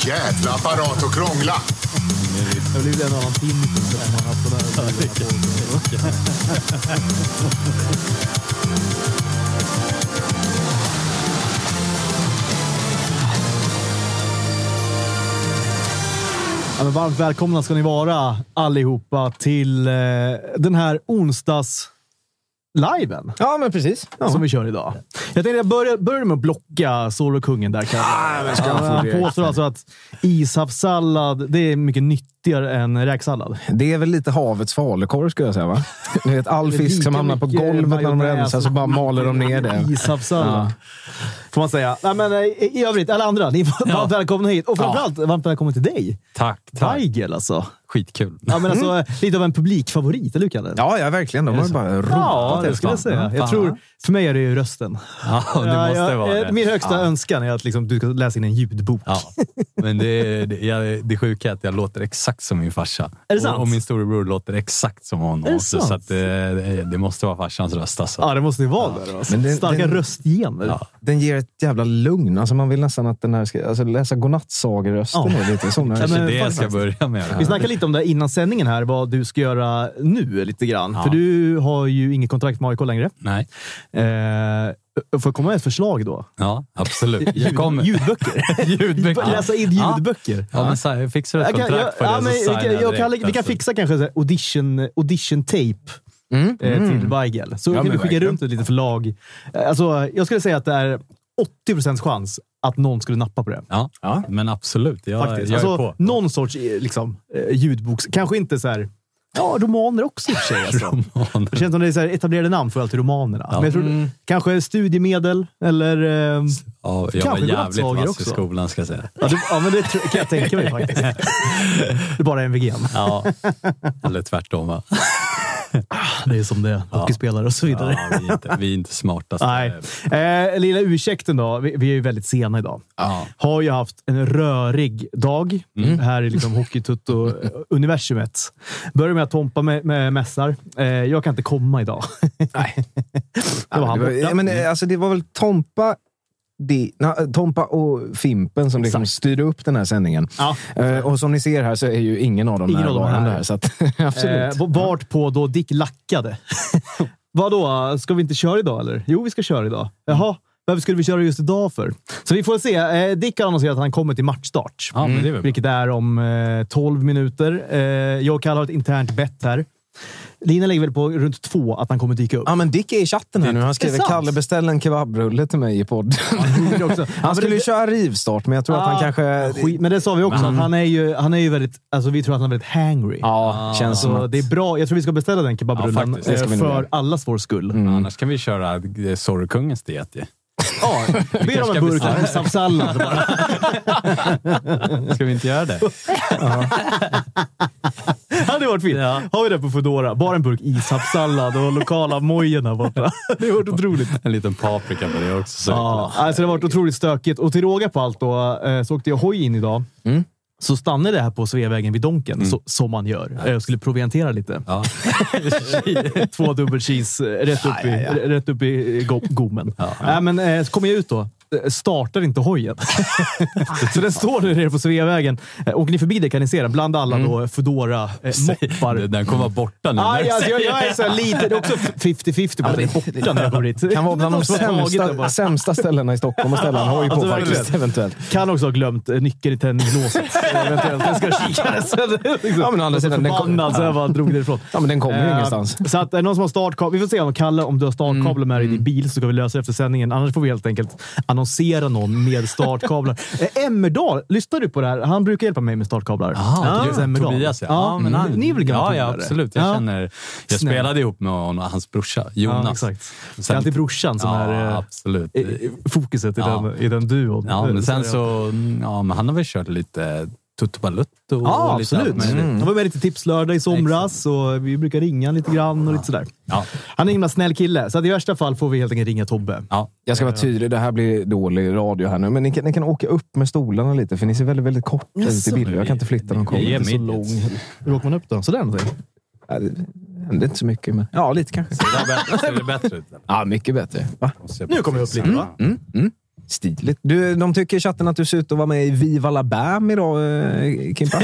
jävla apparat och krångla. Det har blivit en annan tinnitus som man har haft den här sidan på. Ja, men varmt välkomna ska ni vara allihopa till eh, den här onsdags liven Ja, men precis. som vi kör idag. Jag tänkte jag börjar, börjar med att blocka Solokungen där. Kan jag säga. Ah, men ska han få han direkt? påstår alltså att ishavssallad det är mycket nyttigare än räksallad. Det är väl lite havets falukorv skulle jag säga, va? Ni vet, all Det är fisk som lika hamnar på mycket golvet när de majonnäs rensar så som bara maler de ner det. Ishavssallad. Får man säga. Nej, men eh, i i övrigt, alla andra, ni är varmt välkomna hit. Och framförallt, varmt välkommen till dig. Tack, tack. Weigel alltså. Skitkul. Ja, men alltså eh, Lite av en publikfavorit, eller hur Kalle? Mm. Ja, ja, verkligen. De har ju bara Ja, rotat det skulle jag efter. säga. Jag tror, för mig är det ju rösten. Ja, det Ja, måste jag- vara eh, det. Min högsta ja. önskan är att liksom, du ska läsa in en ljudbok. Ja, men det, är- det, jag, det sjuka är att jag låter exakt som min farsa. det sant? och, och min storebror låter exakt som honom Är det också. Så sant? att, eh, det, det måste vara farsans röst alltså. Ja, det måste ju vara det. Alltså. Men det- Starka det- röstgener. Ja. Den ger ett jävla lugn. Alltså man vill nästan att den här ska... Alltså läsa godnattsagerösten Ja. är lite sån. här- Ja, det men är det jag faktiskt. ska börja med. Vi snackade lite om det innan sändningen här, vad du ska göra nu lite grann. För du har ju inget kontrakt med AIK längre. Nej. Eh, får jag komma med ett förslag då? Ja, absolut. Ljud, Jag kommer. Ljudböcker. Ljudböcker. Läsa in ljudböcker. Ja, men så här, fixar du ett Jag kan, jag, kontrakt för ja, det men, så vi, signar kan, jag jag kan, direkt, vi kan alltså. fixa kanske så här audition, audition tape Mm. eh, till Weigel. Så Ja, kan men vi skicka verkligen. runt det lite förlag. Eh, Alltså, jag skulle säga att det är 80 chans att någon skulle nappa på det. Ja, Ja. men absolut. Jag, Faktiskt. jag är alltså, på. någon sorts eh, liksom, eh, ljudboks... Kanske inte så här... Ja, romaner också i och för sig. Alltså. Romaner. Det känns som det är så här, etablerade namn för alltid romanerna. Men jag tror, Kanske studiemedel eller... ehm, Ja, jag var Kanske jävligt godnattsager vass också. i skolan ska jag säga. ja, det, ja, men det tror- kan jag tänka mig faktiskt. Det är bara MVG. Ja, eller tvärtom va? Det är som det är. Hockeyspelare och så vidare. Ja, vi, är inte, vi är inte smartast. Nej. Eh, lilla ursäkten då. Vi, vi är ju väldigt sena idag. Ja. Har ju haft en rörig dag Mm. här i liksom Hockeytutto-universumet. Börjar med att Tompa med, med mässar. Eh, jag kan inte komma idag. Nej. det var Ja, han det, var, borta. ja, men, eh, alltså, det var väl Tompa, di, na, Tompa och Fimpen som liksom styrde upp den här sändningen. Ja. Eh, och som ni ser här så är ju ingen av dem Ingen av dem närvarande här. här. Så att, absolut. Eh, vart på då Dick lackade. Vadå, ska vi inte köra idag eller? Jo, vi ska köra idag. Jaha, varför skulle vi köra just idag för? Så vi får se. Eh, Dick har annonserat att han kommer till matchstart. Ja, men det är väl bra. Vilket är om eh, 12 minuter. Eh, jag och Kalle har ett internt bett här. Lina lägger väl på runt två att han kommer dyka upp. Ja, men Dick är i chatten här nu. Han Är skriver det sant? “Kalle beställ en kebabrulle till mig i podden”. det också. Han skulle ju köra rivstart, men jag tror att han Ah, kanske... Mm. Skit, men det sa vi också. att Han är ju, han är ju väldigt, alltså, vi tror att han är väldigt hangry. Ja, känns som Så att... det är bra. Jag tror vi ska beställa den Ja, kebabrullen faktiskt. Det eh, ska vi nog för göra. allas vår skull. Mm. Annars kan vi köra eh, Sorgkungens diet ju. Ja, ber om kanske en ska burk beställa. ishavssallad. bara. Ska vi inte göra det? Det hade varit fint. Har vi det på Foodora. Bara en burk ishavssallad och lokala mojen här borta. Det hade varit otroligt. En liten paprika på det också. Så. Ja, alltså det har varit otroligt stökigt. Och till råga på allt då, eh, så åkte jag hoj in idag. Så stannade jag här på Sveavägen vid Donken, så, som man gör. Eh, Jag skulle proviantera lite. Ja. Två dubbel cheese eh, rätt upp i, Rätt upp i eh, go- gommen. Nej, men, eh, så kommer jag ut då. Eh, Startar inte hojen. så den står där nere på Sveavägen. Eh, Åker ni förbi det kan ni se den. Bland alla då foodora eh, moppar Den kommer vara borta nu. Aj, alltså, jag, jag är så här lite... Det är också 50-50 på att den är borta när jag kommer dit. Kan vara bland de Någon som har tagit den bara. sämsta, sämsta ställena i Stockholm att ställa en hoj på Alltså, verkligen. faktiskt, eventuellt. Kan också ha glömt eh, nyckeln i tändningslåset. Eventuellt. Jag ska kika sen. Ja, men å andra Jag sidan, den var så kom- förbannad så jag bara drog det ifrån. Ja, men den kommer ju Eh, ingenstans. Så att eh, någon som har startkabel. Vi får se om Kalle, om du har startkablar med dig Mm, i din bil så ska vi lösa det efter sändningen. Annars får vi helt enkelt annonsera någon med startkablar. Eh, Emmerdal, lyssnar du på det här? Han brukar hjälpa mig med startkablar. Ah, Tobias Emmerdal. Tobias ja. ja men han, Ni är väl ja, gamla ja, polare? absolut. Jag, Ja. känner, jag Snäll. spelade ihop med honom, hans brorsa Jonas. Ja, exakt. det är Sen- alltid brorsan som ja, är eh, absolut. i- i- fokuset i, Ja. den, i den duon. Ja, men sen är det- så... Ja, men han har väl kört lite Tutu Balutto. och Ja, lite Ah, absolut. Mm. allt möjligt. Han var med lite tipslördag i somras och vi brukar ringa han lite grann och lite sådär. Ja. Han är en himla snäll kille, så att i värsta fall får vi helt enkelt ringa Tobbe. Ja. Jag ska vara tydlig, det här blir dålig radio här nu, men ni kan, ni kan åka upp med stolarna lite, för ni ser väldigt, väldigt kort ut i bilder. Jag kan inte flytta dem. Vi är Inte så midgets. lång. Hur åker man upp då? Sådär någonting? Ja, Det händer inte så mycket, men... Ja, lite kanske. Det där bättre- Ser det bättre ut? eller? Ja, mycket bättre. Va? Mm. Nu kommer jag upp lite va? Stiligt. Du, de tycker i chatten att du ser ut att vara med i Viva La Bam idag, eh, Kimpa.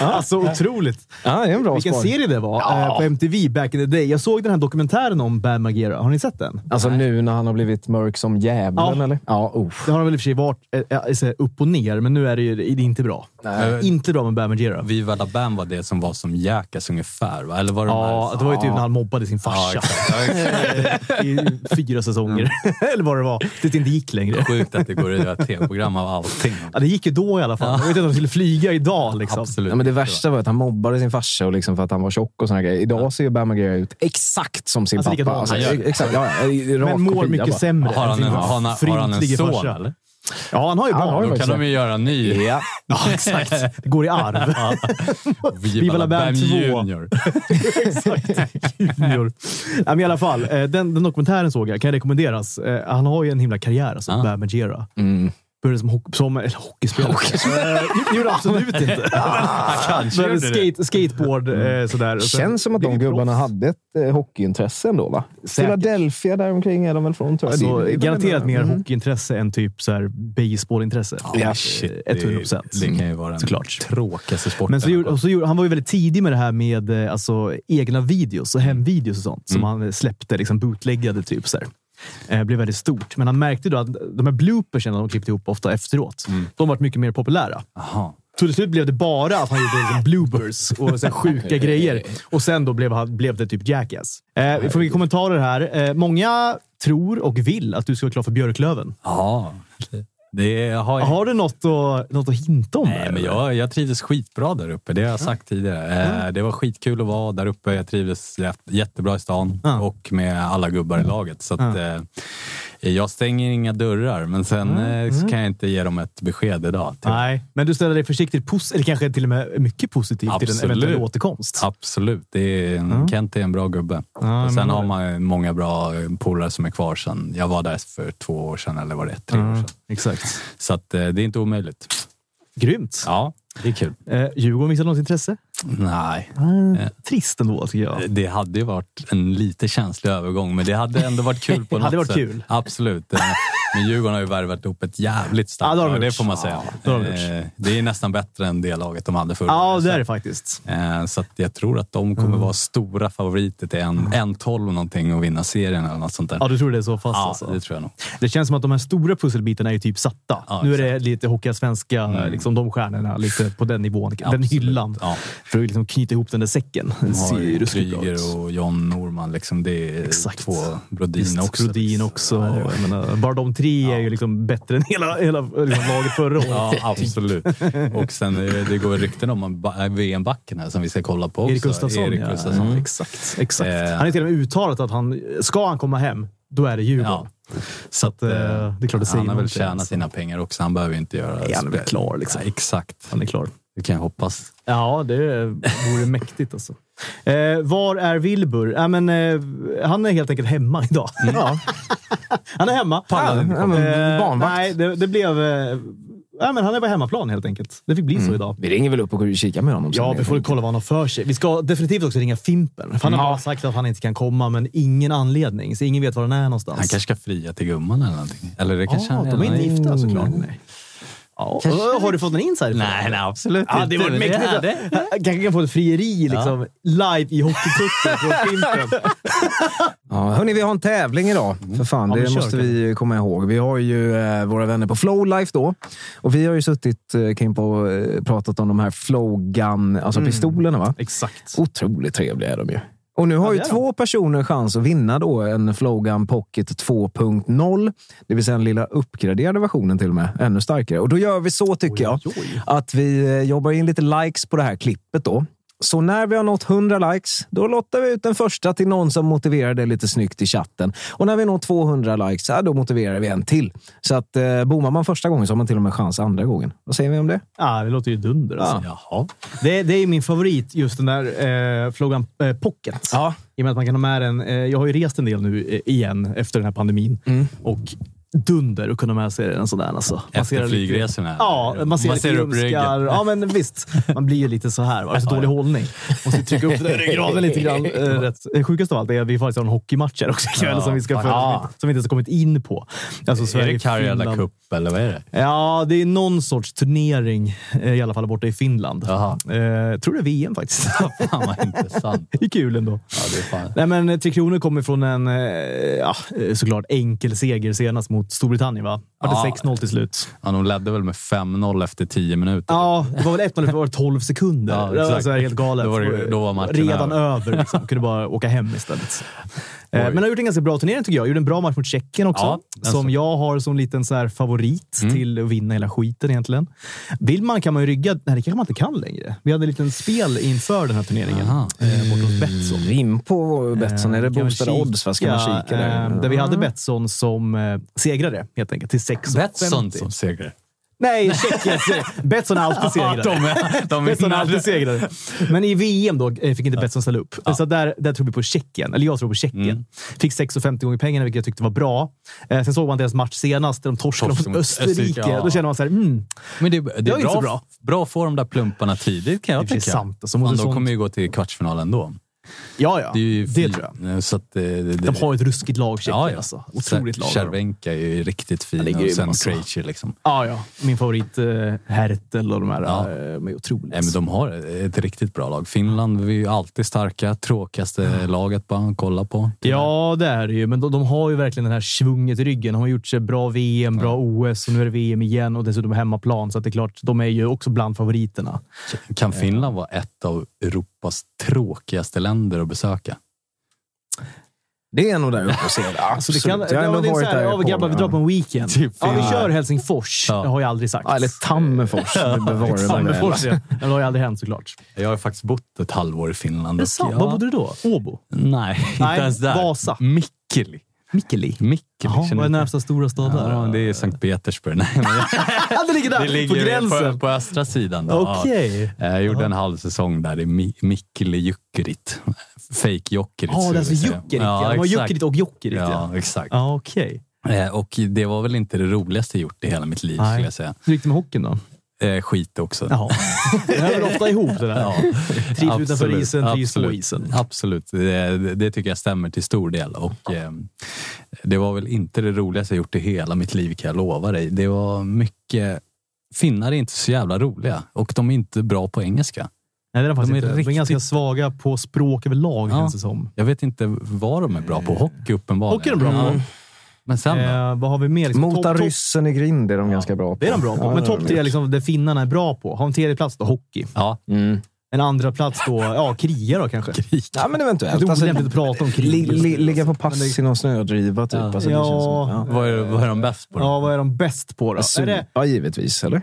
Alltså otroligt. ja, det är en bra Vilken spaning. serie det var eh, på MTV back in the day. Jag såg den här dokumentären om Bam Margera. Har ni sett den? Alltså nu när han har blivit mörk som djävulen, Ja. eller? Ja, uff. Det har väl i och för sig varit eh, eh, så här, upp och ner, men nu är det ju det är inte bra. Nej. Inte bra med Bam Margera. Viva La Bam var det som var som Jackass ungefär, va? Eller var det de Ja, här- det var ju typ när han mobbade sin farsa exakt. Ja, exakt. i fyra säsonger. Eller vad det var. Tills det inte gick längre. Sjukt att det går att göra tv-program av allting. Ja, det gick ju då i alla fall. Jag vet inte om de skulle flyga idag. Liksom. Absolut. Ja, men det värsta var att han mobbade sin farsa och liksom för att han var tjock och såna grejer. Idag ser ju Bam Margera ut exakt som sin Alltså, pappa. likadant. Han gör- exakt, ja, ja, rak Men mår kopia mycket bara. sämre. Har än han sin en, har han, har han en fryntlige son farsa. eller? Ja, han har ju Han har barn. ju Då kan de ju göra en ny. Ja. Ja, exakt. Det går i arv. Viva La Bam 2. Junior. Exakt. Junior. Nej, men I alla fall, eh, den, den dokumentären såg jag. Kan rekommenderas. Eh, Han har ju en himla karriär, alltså, Ah. Bam Margera. Mm. Började som, ho- som eller, hockeyspelare. Eh, Gjorde absolut inte. Kanske Började gjorde det. Mm. skate, skateboard eh, sådär. Och Det sen- känns som att blev de ju gubbarna proffs. hade ett eh, hockeyintresse ändå, va? Säkert. Philadelphia däromkring är de väl från, tror jag. Alltså, Det- det är väl garanterat en- mer Mm. hockeyintresse än typ så här baseballintresse. Ja, Eh, Shit, det- 100 procent. Det kan ju vara den Såklart. tråkigaste sporten. Men så gjorde, och så gjorde, han var ju väldigt tidig med det här med eh, alltså, egna videos Mm. och hemvideos och sånt som han eh, släppte, liksom bootleggade typ. Så här. Eh, blev väldigt stort. Men han märkte då att de här bloopersen de klippte ihop ofta efteråt, Mm. de varit mycket mer populära. Jaha. Så till slut blev det bara att han gjorde liksom bloopers och så här sjuka grejer. Och sen då blev, han, blev det typ Jackass. Eh, vi får mycket kommentarer här. Eh, många tror och vill att du ska vara klar för Björklöven. Ja. Det har jag. Har du något att, något att hinta om? Nej, där, men eller? jag, jag trivdes skitbra där uppe. Det har jag sagt tidigare. Eh, Det var skitkul att vara där uppe. Jag trivdes jät- jättebra i stan Ja. och med alla gubbar i laget. Så att, eh, jag stänger inga dörrar, men sen eh, så kan jag inte ge dem ett besked idag. typ. Mm, Nej, men du ställer dig försiktigt positiv, eller kanske till och med mycket positivt till en Absolut. eventuell återkomst. Absolut. Det är, Kent är en bra gubbe. Ja, och men- sen har man ju många bra polare som är kvar sen. Jag var där för två år sedan, eller var det tre år Mm, sedan? exakt. Så att, eh, det är inte omöjligt. Grymt. Ja, det är kul. Eh, Djurgården visade något intresse. Nej, Eh, Trist ändå, tycker jag. Eh, Det hade ju varit en lite känslig övergång, men det hade ändå varit kul på Det något hade varit sätt. kul. Absolut. Eh, Men Djurgården har ju värvat upp ett jävligt Ja, starkt det har de lag, det gjort. får man säga. Ja, det har de Eh, det är nästan bättre än det laget de hade förra Ja, Mm. året. det är det faktiskt. Eh, Så att jag tror att de kommer vara stora favoriter till en, en 12 någonting och vinna serien eller något sånt där. Mm. Ja, du tror det är så fast Ja, alltså. det tror jag nog. Det känns som att de här stora pusselbitarna är ju typ satta. Ja, Mm. nu är det lite Hockeyallsvenska, liksom de stjärnorna, lite på den nivån. Den Absolut. hyllan. Ja. För att liksom knyta ihop den där säcken. Den De har ser ju ju ruskigt bra ut. Kryger och John Norman, liksom, det är Exakt. två Brodin Visst, också. Brodin också. Ja, Jag menar, bara de tre är ju liksom bättre än hela, hela liksom laget förra året. Ja, absolut. Och sen eh, det går rykten om en ba- eh, VM-backen här som vi ska kolla på också. Erik Gustafsson. Erik ja. Gustafsson. Mm. Exakt. exakt. Eh. Han har till och med uttalat att han, ska han komma hem, då är det Djurgården. Ja. Så att, eh, det är klart det Han har säger väl någonting. tjänat sina pengar också. Han behöver ju inte göra... Ja, han är väl klar, liksom. Ja, exakt. Han är klar. Det kan jag hoppas. Ja, det vore mäktigt alltså. Eh, var är Wilbur? Ja, men, eh, han är helt enkelt hemma idag. Mm. Ja. Han är hemma. Pallade inte komma. Eh, Barnvakt. Nej, det, det blev... Eh, ja, men han är på hemmaplan helt enkelt. Det fick bli Mm. så idag. Vi ringer väl upp och kikar med honom. Ja, vi får kolla vad han har för sig. Vi ska definitivt också ringa Fimpen. För Mm. han har bara sagt att han inte kan komma, men ingen anledning. Så ingen vet var han är någonstans. Han kanske ska fria till gumman eller någonting. Eller det kanske Alltså. Ja, han de är redan inte gifta såklart. Mm. Nej. Ja, ö, har du fått en insider? på Nej, nej, absolut Ja, det inte. var Men mäktigt. är det. Jag kanske kan få ett frieri liksom, live i Hockeykutten från Fimpen. Ja, hörni, vi har en tävling idag. För fan, Mm. Ja, det men kör, måste vi komma ihåg. Vi har ju eh, våra vänner på Flowlife då. Och vi har ju suttit, eh, Kim, och eh, pratat om de här Flowgun, alltså Mm. pistolerna va? Exakt. Otroligt trevliga är de ju. Och nu har Ja, ju det är två personer chans att vinna då en Flowgun Pocket 2.0. Det vill säga den lilla uppgraderade versionen till och med. Ännu starkare. Och då gör vi så tycker jag. Oj, oj. Att vi eh, jobbar in lite likes på det här klippet då. Så när vi har nått 100 likes, då lottar vi ut den första till någon som motiverar det lite snyggt i chatten. Och när vi når 200 likes, ja, då motiverar vi en till. Så att eh, bommar man första gången så har man till och med chans andra gången. Vad säger vi om det? Ja, det låter ju dunder. Alltså. Jaha. Det, det är min favorit, just den där eh, Flogan eh, Pocket. Ja. Mm. I och med att man kan ha med den. Eh, jag har ju rest en del nu eh, igen efter den här pandemin. Och dunder att kunna med sig en sån där. Alltså. Man ser Efter lite- flygresorna. Ja, man ser, lite upp ryggen. ljumskar. Ja, men visst. Man blir ju lite så här. Va? Alltså, dålig hållning. Måste trycka upp den ryggraden lite grann. Eh, Rätt. Det Sjukaste av allt är att vi faktiskt har en hockeymatch här också ikväll Ja, som vi ska följa, fan. som vi- som vi inte ens har kommit in på. Alltså, Är Sverige, det Karjala Finland. Cup eller vad är det? Ja, det är någon sorts turnering eh, i alla fall borta i Finland. Jaha. Eh, jag tror det är VM faktiskt. Fan vad intressant. det är kul ändå. Ja, det är fan. Nej, men eh, Tre Kronor kommer från en eh, ja, eh, såklart enkel seger senast mot Storbritannien. Va? Var det Ja. 6-0 till slut? Ja, de ledde väl med 5-0 efter 10 minuter. Ja, det var väl 1-0 för 12 sekunder. Ja, det var exakt. alltså helt galet. Då var det- då var matchen Redan över. över. liksom. Kunde bara åka hem istället. Eh, Oj. Men har gjort en ganska bra turnering tycker jag. Gjorde en bra match mot Tjeckien också. Ja, alltså- Mm. den som så- jag har som liten så här favorit till att vinna hela skiten egentligen. Vill man kan man ju rygga. Nej, det kanske man inte kan längre. Vi hade en liten spel inför den här turneringen. Aha. Eh, bort hos Betsson. Eh, In på Betsson. Är det Kan man boostade kika? odds? Vad ska man kika där? Eh, Där vi hade Betsson som eh, segrare helt enkelt. Till 6 Betsson som segrare. Nej, Tjeckien. Betsson är alltid segrare. de är, de Betsson är alltid segrare. Men i VM då eh, fick inte Betsson ställa upp. Så där, där tror vi på Tjeckien. Eller jag tror på Tjeckien. Mm. Fick 6,50 gånger pengarna, vilket jag tyckte var bra. Eh, sen såg man deras match senast, där de torskade Torsk mot mot Österrike. Österrike, ja. Då känner man så här, mm, Men det, det var är inte så bra, bra. bra. bra att få de där plumparna tidigt kan Det är jag tycka. sant, alltså, mot Fan, ett de sånt- kommer ju gå till kvartsfinalen då. ja, ja. Det, är ju det fint. tror jag. Så att, eh, det, det, De har ett ruskigt lag, Tjeckien. ja, ja. Alltså. Otroligt lag. har de. Cervenka är ju riktigt fin. är och grym, sen alltså. Krejci liksom. Ja, ja. Min favorit eh, Hertel och de här. Ja. eh, De är otroliga. Nej, men de har ett riktigt bra lag. Finland vi är ju alltid starka. Tråkigaste laget bara att kolla på. Ja, det är det ju. Men de, de har ju verkligen den här svunget i ryggen. De har gjort sig bra VM, bra OS och nu är det VM igen och dessutom hemmaplan. Så att det är klart, de är ju också bland favoriterna. Kan Finland vara ett av Europas tråkigaste länder att besöka? Det är nog där uppe och ser det. Så det kan, ja, men det är så här, ja, vi grabbar, vi drar på en weekend. Typ ja, vi Finland. kör Helsingfors. Ja. Det har jag aldrig sagt. Ja, eller Tammerfors. Det bevare mig väl. Tammerfors, ja. Men det har ju aldrig hänt såklart. Jag har faktiskt bott ett halvår i Finland. Det är och- sant. Ja. Var bodde du då? Åbo? Nej, inte Nej, ens där. Vasa. Mikkeli. Mikkeli? Mikkeli. Jaha, känner vad du är till? närmsta stora stad där? Ja, det är Sankt Petersburg. Nej, men Ja, det ligger där! det ligger på gränsen. På, på östra sidan. då. Ja. Eh, Okej. Jag gjorde en halv säsong där i Mi- Mikkeli-Jukkerit. Fake-Jokkerit. Ja, skulle det är alltså jag säga. Jokerit. Ja, de har exakt. Jokerit och Jokerit. Ja. Ja, exakt. Ja, okej. Eh, Och det var väl inte det roligaste jag gjort i hela mitt liv, Nej. skulle jag säga. Hur gick det med hockeyn då? Eh, Skit också. Jaha. Det hör väl ofta ihop det där. Ja, Trivs utanför absolut, isen, trivs på absolut, isen. Absolut. Det, det tycker jag stämmer till stor del. Och, eh, det var väl inte det roligaste jag gjort i hela mitt liv, kan jag lova dig. Det var mycket... Finnar är inte så jävla roliga och de är inte bra på engelska. Nej, det är de faktiskt De är inte. De är riktigt- ganska svaga på språk överlag, Ja. känns det som. Eh, Jag vet inte vad de är bra på. Hockey uppenbarligen. Hockey är de bra på. Ja. Men sen då? Eh, vad har vi mer? Liksom, Mota topp- topp- ryssen i grind är de ganska bra på. Det är de bra på. Ja, Men det är topp de tre är ju. liksom det finnarna är bra på. Har en tredje plats då? Hockey. Ja, Mm. En andra plats då? Ja, kriga då kanske. Ja, men Det är eventuellt. Alltså, olämpligt att prata om krig. alltså. li, li, ligga på Men det- pass i någon snödriva, typ. Ja. Alltså, det Ja. känns som, vad är, vad är de bäst på? då? Ja, vad är de bäst på då? ja. Är det, Supa, givetvis. Eller?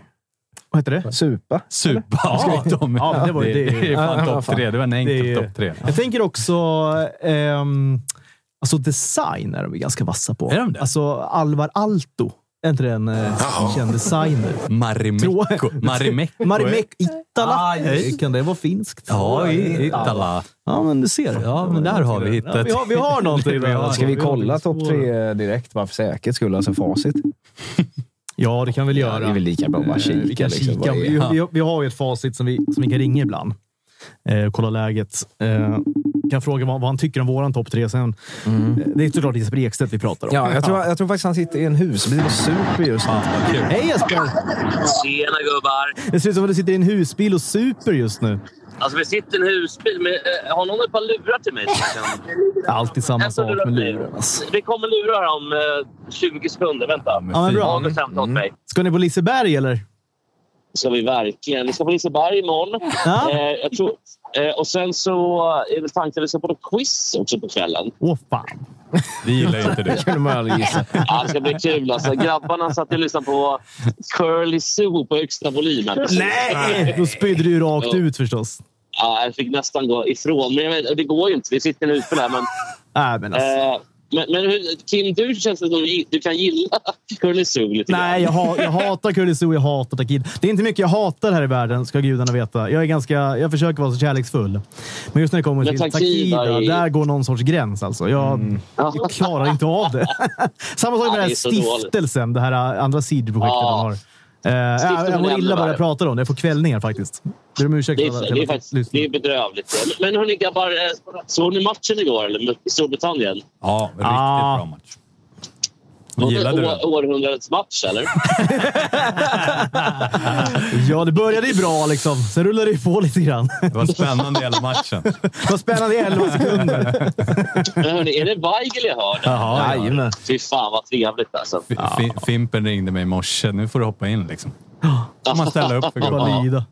vad heter det? Supa. Supa. Ja, de, Ja, men det var ju- det- är ja, fan vad topp fan. tre. Det var en enkel Det är- topp tre. Jag tänker också... ehm, alltså design är de ju ganska vassa på. Är de det? Alltså Alvar Aalto. Är inte det en eh, känd designer? Marimekko. Marimekko. Ah, Marimek Itala. Aj. Eh, Kan det vara finskt? Ja, i Itala. Ja, men du ser. Ja, men där har vi hittat. Ja, vi, har, vi har någonting. Vi har- där. alltså. Ska vi kolla har- topp tre direkt, bara för säkerhets skull? Alltså facit. Ja, det kan vi väl Ja, göra. det är väl lika bra att bara Eh, kika. vi kan liksom. kika. Vad är- Vi, vi, vi har ju ett facit som vi, som vi kan ringa ibland. Eh, kolla läget. Eh, kan fråga vad, vad han tycker om våran topp tre sen. Eh, Det är såklart Jesper Ekstedt vi pratar om. Ja, jag, tror, jag tror faktiskt han sitter i en husbil och super just nu. Vad kul. Hej Jesper! Tjena gubbar! Det ser ut som att du sitter i en husbil och super just nu. Alltså vi sitter i en husbil. Men, eh, har någon ett par lurar till mig? Alltid samma sak med luren. alltså. Det kommer lurar om eh, 20 sekunder. Vänta. Ja, men bra. Mm. August hämtar åt mig. Ska ni på Liseberg eller? Så vi verkligen. Vi ska på Liseberg imorgon. Ja. Eh, jag tror, eh, och sen så är det tanken att vi ska på något quiz också på kvällen. Åh fan. Vi gillar ju inte det. kunde man aldrig gissa. Ja, det ska bli kul. Alltså, grabbarna satt och lyssnade på Curly Zoo på högsta volymen. Nej! Då spydde du ju rakt Ja. ut förstås. Ja, jag fick nästan gå ifrån. Men jag vet, det går ju inte. Vi sitter i en husbil här. Men Nej, men alltså. Eh, Men, men hur- Kim, du känns det som du- du kan gilla Curly Sue lite grann. Nej, jag, ha, jag hatar Kurdisu, jag hatar Takid. Det är inte mycket jag hatar här i världen, ska gudarna veta. Jag, är ganska, jag försöker vara så kärleksfull. Men just när det kommer Men till Takida Takida, är- Mm. där går någon sorts gräns. Alltså. Jag, jag klarar inte av det. Samma sak med Ja, den det här är så dåligt. stiftelsen, det här äh, andra sidoprojektet Ja. de har. Eh, jag- jag Stiftelsen mår är illa ännu bara jag värre. pratar om det. Jag får kvällningar faktiskt. Ber om ursäkt. Det alla- är, det är, faktiskt, lyssnare. det är bedrövligt. Men hörni grabbar, eh, såg ni matchen igår eller, mot Storbritannien? Ja, riktigt Ah. bra match. Gillade du den? Å- Århundradets match, eller? Ah, Ja, det började ju bra liksom. Sen rullade det ju på lite grann. Det var spännande hela matchen. Vad spännande i 11 sekunder. Men hörni, är det Weigel jag hör? där? Jaha, ja. Jajamän. Fy fan vad trevligt alltså. F- Fi- Fimpen ringde mig i morse. Nu får du hoppa in liksom. Får man ställa upp för Det gubben. var lida.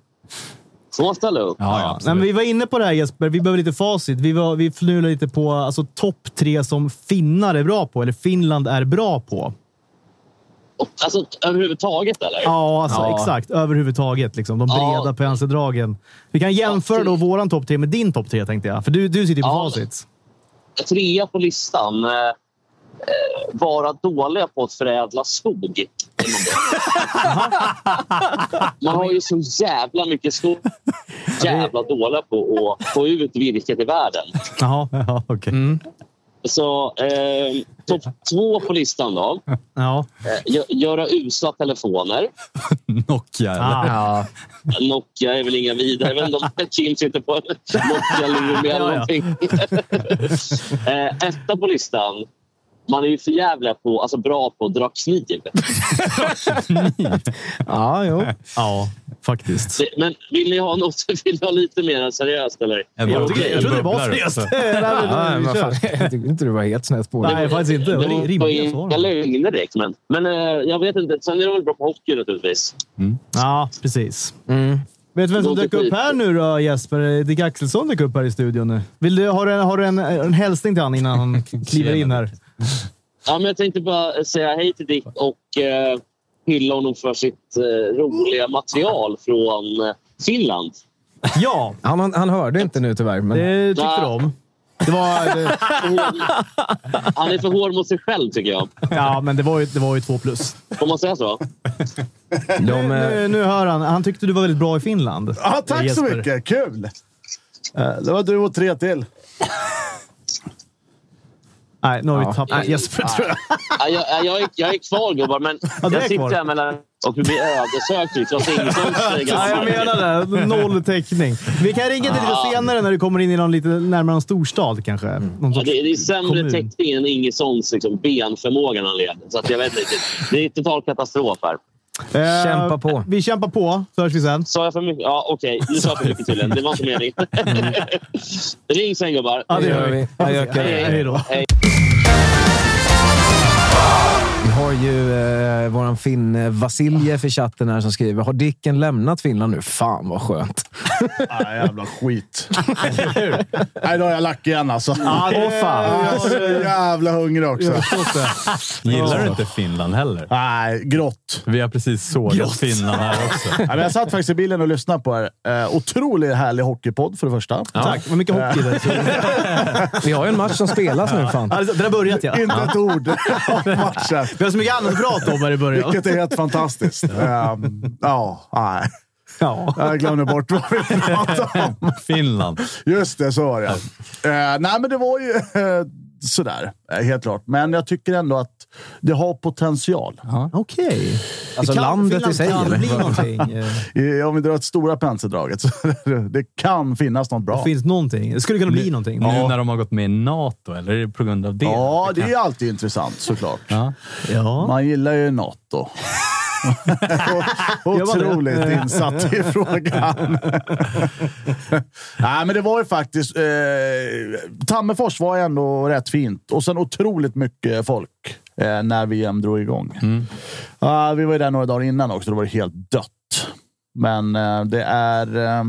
Får man ställa upp? Ja, ja, Nej, absolut. men vi var inne på det här Jesper. Vi behöver lite facit. Vi, var, vi fnulade lite på alltså, topp tre som finnar är bra på, eller Finland är bra på. Alltså överhuvudtaget eller? Ja, alltså, Ja. exakt. Överhuvudtaget. Liksom. De Ja. breda penseldragen. Vi kan jämföra Ja, då fy. våran topp tre med din topp tre, tänkte jag. För du, du sitter ju på Ja. facit. Trea på listan. eh, eh, Vara dåliga på att förädla skog. Man har ju så jävla mycket skog. Jävla dåliga på att få ut virket i världen. Jaha, ja, okej. Så eh, topp två på listan då. Ja. Eh, gö- Göra usla telefoner. Nokia, eller? Ah. Ja. Nokia är väl inga vidare. Jag vet inte om Kim sitter på en Nokia-luren Ja, ja. eller någonting. Eh, Etta på listan. Man är ju för jävla på, alltså bra på att dra kniv. ja, jo. ja, faktiskt. Det- Men vill ni ha något? Vill ni ha lite mer seriöst? Eller? En Är det bra- okej? Jag trodde det var Bubblar seriöst. också. Det här är- Ja, men vi vad kör. fan. Jag tycker inte du var helt snett på det. Nej, faktiskt inte. Det Det var var rimliga inga svar. lögner direkt. Men, men eh, jag vet inte. Sen är de väl bra på hockey naturligtvis. Ja, precis. Mm. Vet du vem som Låter dök upp skit. här nu då, Jesper? Dick Axelsson dök upp här i studion nu. Vill du, har du, en, har du en, en hälsning till han innan han kliver in här? Ja, men jag tänkte bara säga hej till Dick och eh, hylla honom för sitt eh, roliga material från eh, Finland. Ja, Han, han- han hörde inte nu tyvärr, men det tyckte Ja. de. Det var, det, Han är för hård mot sig själv, tycker jag. ja, men det var ju, det var ju två plus. Får man säga så? de... eh, Nu, nu hör han. Han tyckte du var väldigt bra i Finland. Ja, tack så Jesper. mycket. Kul! Eh, Det var du och tre till. Nej, nu har vi Ja. tappat Jesper tror jag. Ja, jag, ja, jag, är, jag är kvar, gubbar, men Ja, du är jag sitter kvar. här mellan och blir ödesökt. liksom. Jag ser ingen som säger Ja, gammal. jag menar det. Noll täckning. Vi kan ringa till lite senare när du kommer in i någon lite närmare en storstad kanske. Mm. Någon Ja, sorts det, det är sämre kommun. täckning än Ingesons liksom, benförmåga när han leder. Så att jag vet inte. riktigt. Det är total katastrof här. Eh, Kämpa på. Vi kämpar på, så hörs vi sen. Sa jag för mycket? Ja, okej. Nu sa jag för mycket tydligen. Det var inte meningen. Ring sen, gubbar. Ja, det gör vi. Adjöka. Hej då. Vi har ju eh, våran finne Vasiljev i chatten här som skriver “Har Dicken lämnat Finland nu? Fan vad skönt!” Ah, jävla skit. Nej, då är jag lack igen alltså. Ja, det- Åh, fan. Jag är så jävla hungrig Jag också. har förstått det. Gillar du inte Finland heller? Nej, grått. Vi har precis sågat Finland här också. Nej, men jag satt faktiskt i bilen och lyssnade på er. Eh, Otroligt härlig hockeypodd för det första. Tack. Vad mycket hockey det är. Vi har ju en match som spelas nu fan. Alltså, det har börjat ja. Inte ett ord om matchen. Vi har så mycket annat att prata om här i början. Vilket är helt fantastiskt. Ehm, Ja, nej. Ja. Jag glömde bort vad vi pratade om. Finland. Just det, så var det. Eh, nej, men det var ju eh, sådär, eh, helt klart. Men jag tycker ändå att det har potential. Okej. Alltså Det kan- landet i sig, Finland eller? kan bli någonting. Eh, Eh, om vi drar ett stora penseldraget så det kan finnas något bra. Det finns någonting. Det skulle kunna bli någonting. Nu när de har gått med i NATO, eller är det på grund av det? ja, det är ju alltid intressant såklart. Ja. Man gillar ju Nato. Gör man det? Otroligt insatt i frågan. Nej, men det var ju faktiskt... Eh, Tammerfors var ändå rätt fint och sen otroligt mycket folk eh, när VM drog igång. Ja, vi var ju där några dagar innan också. Då var det helt dött. Men eh, det är eh,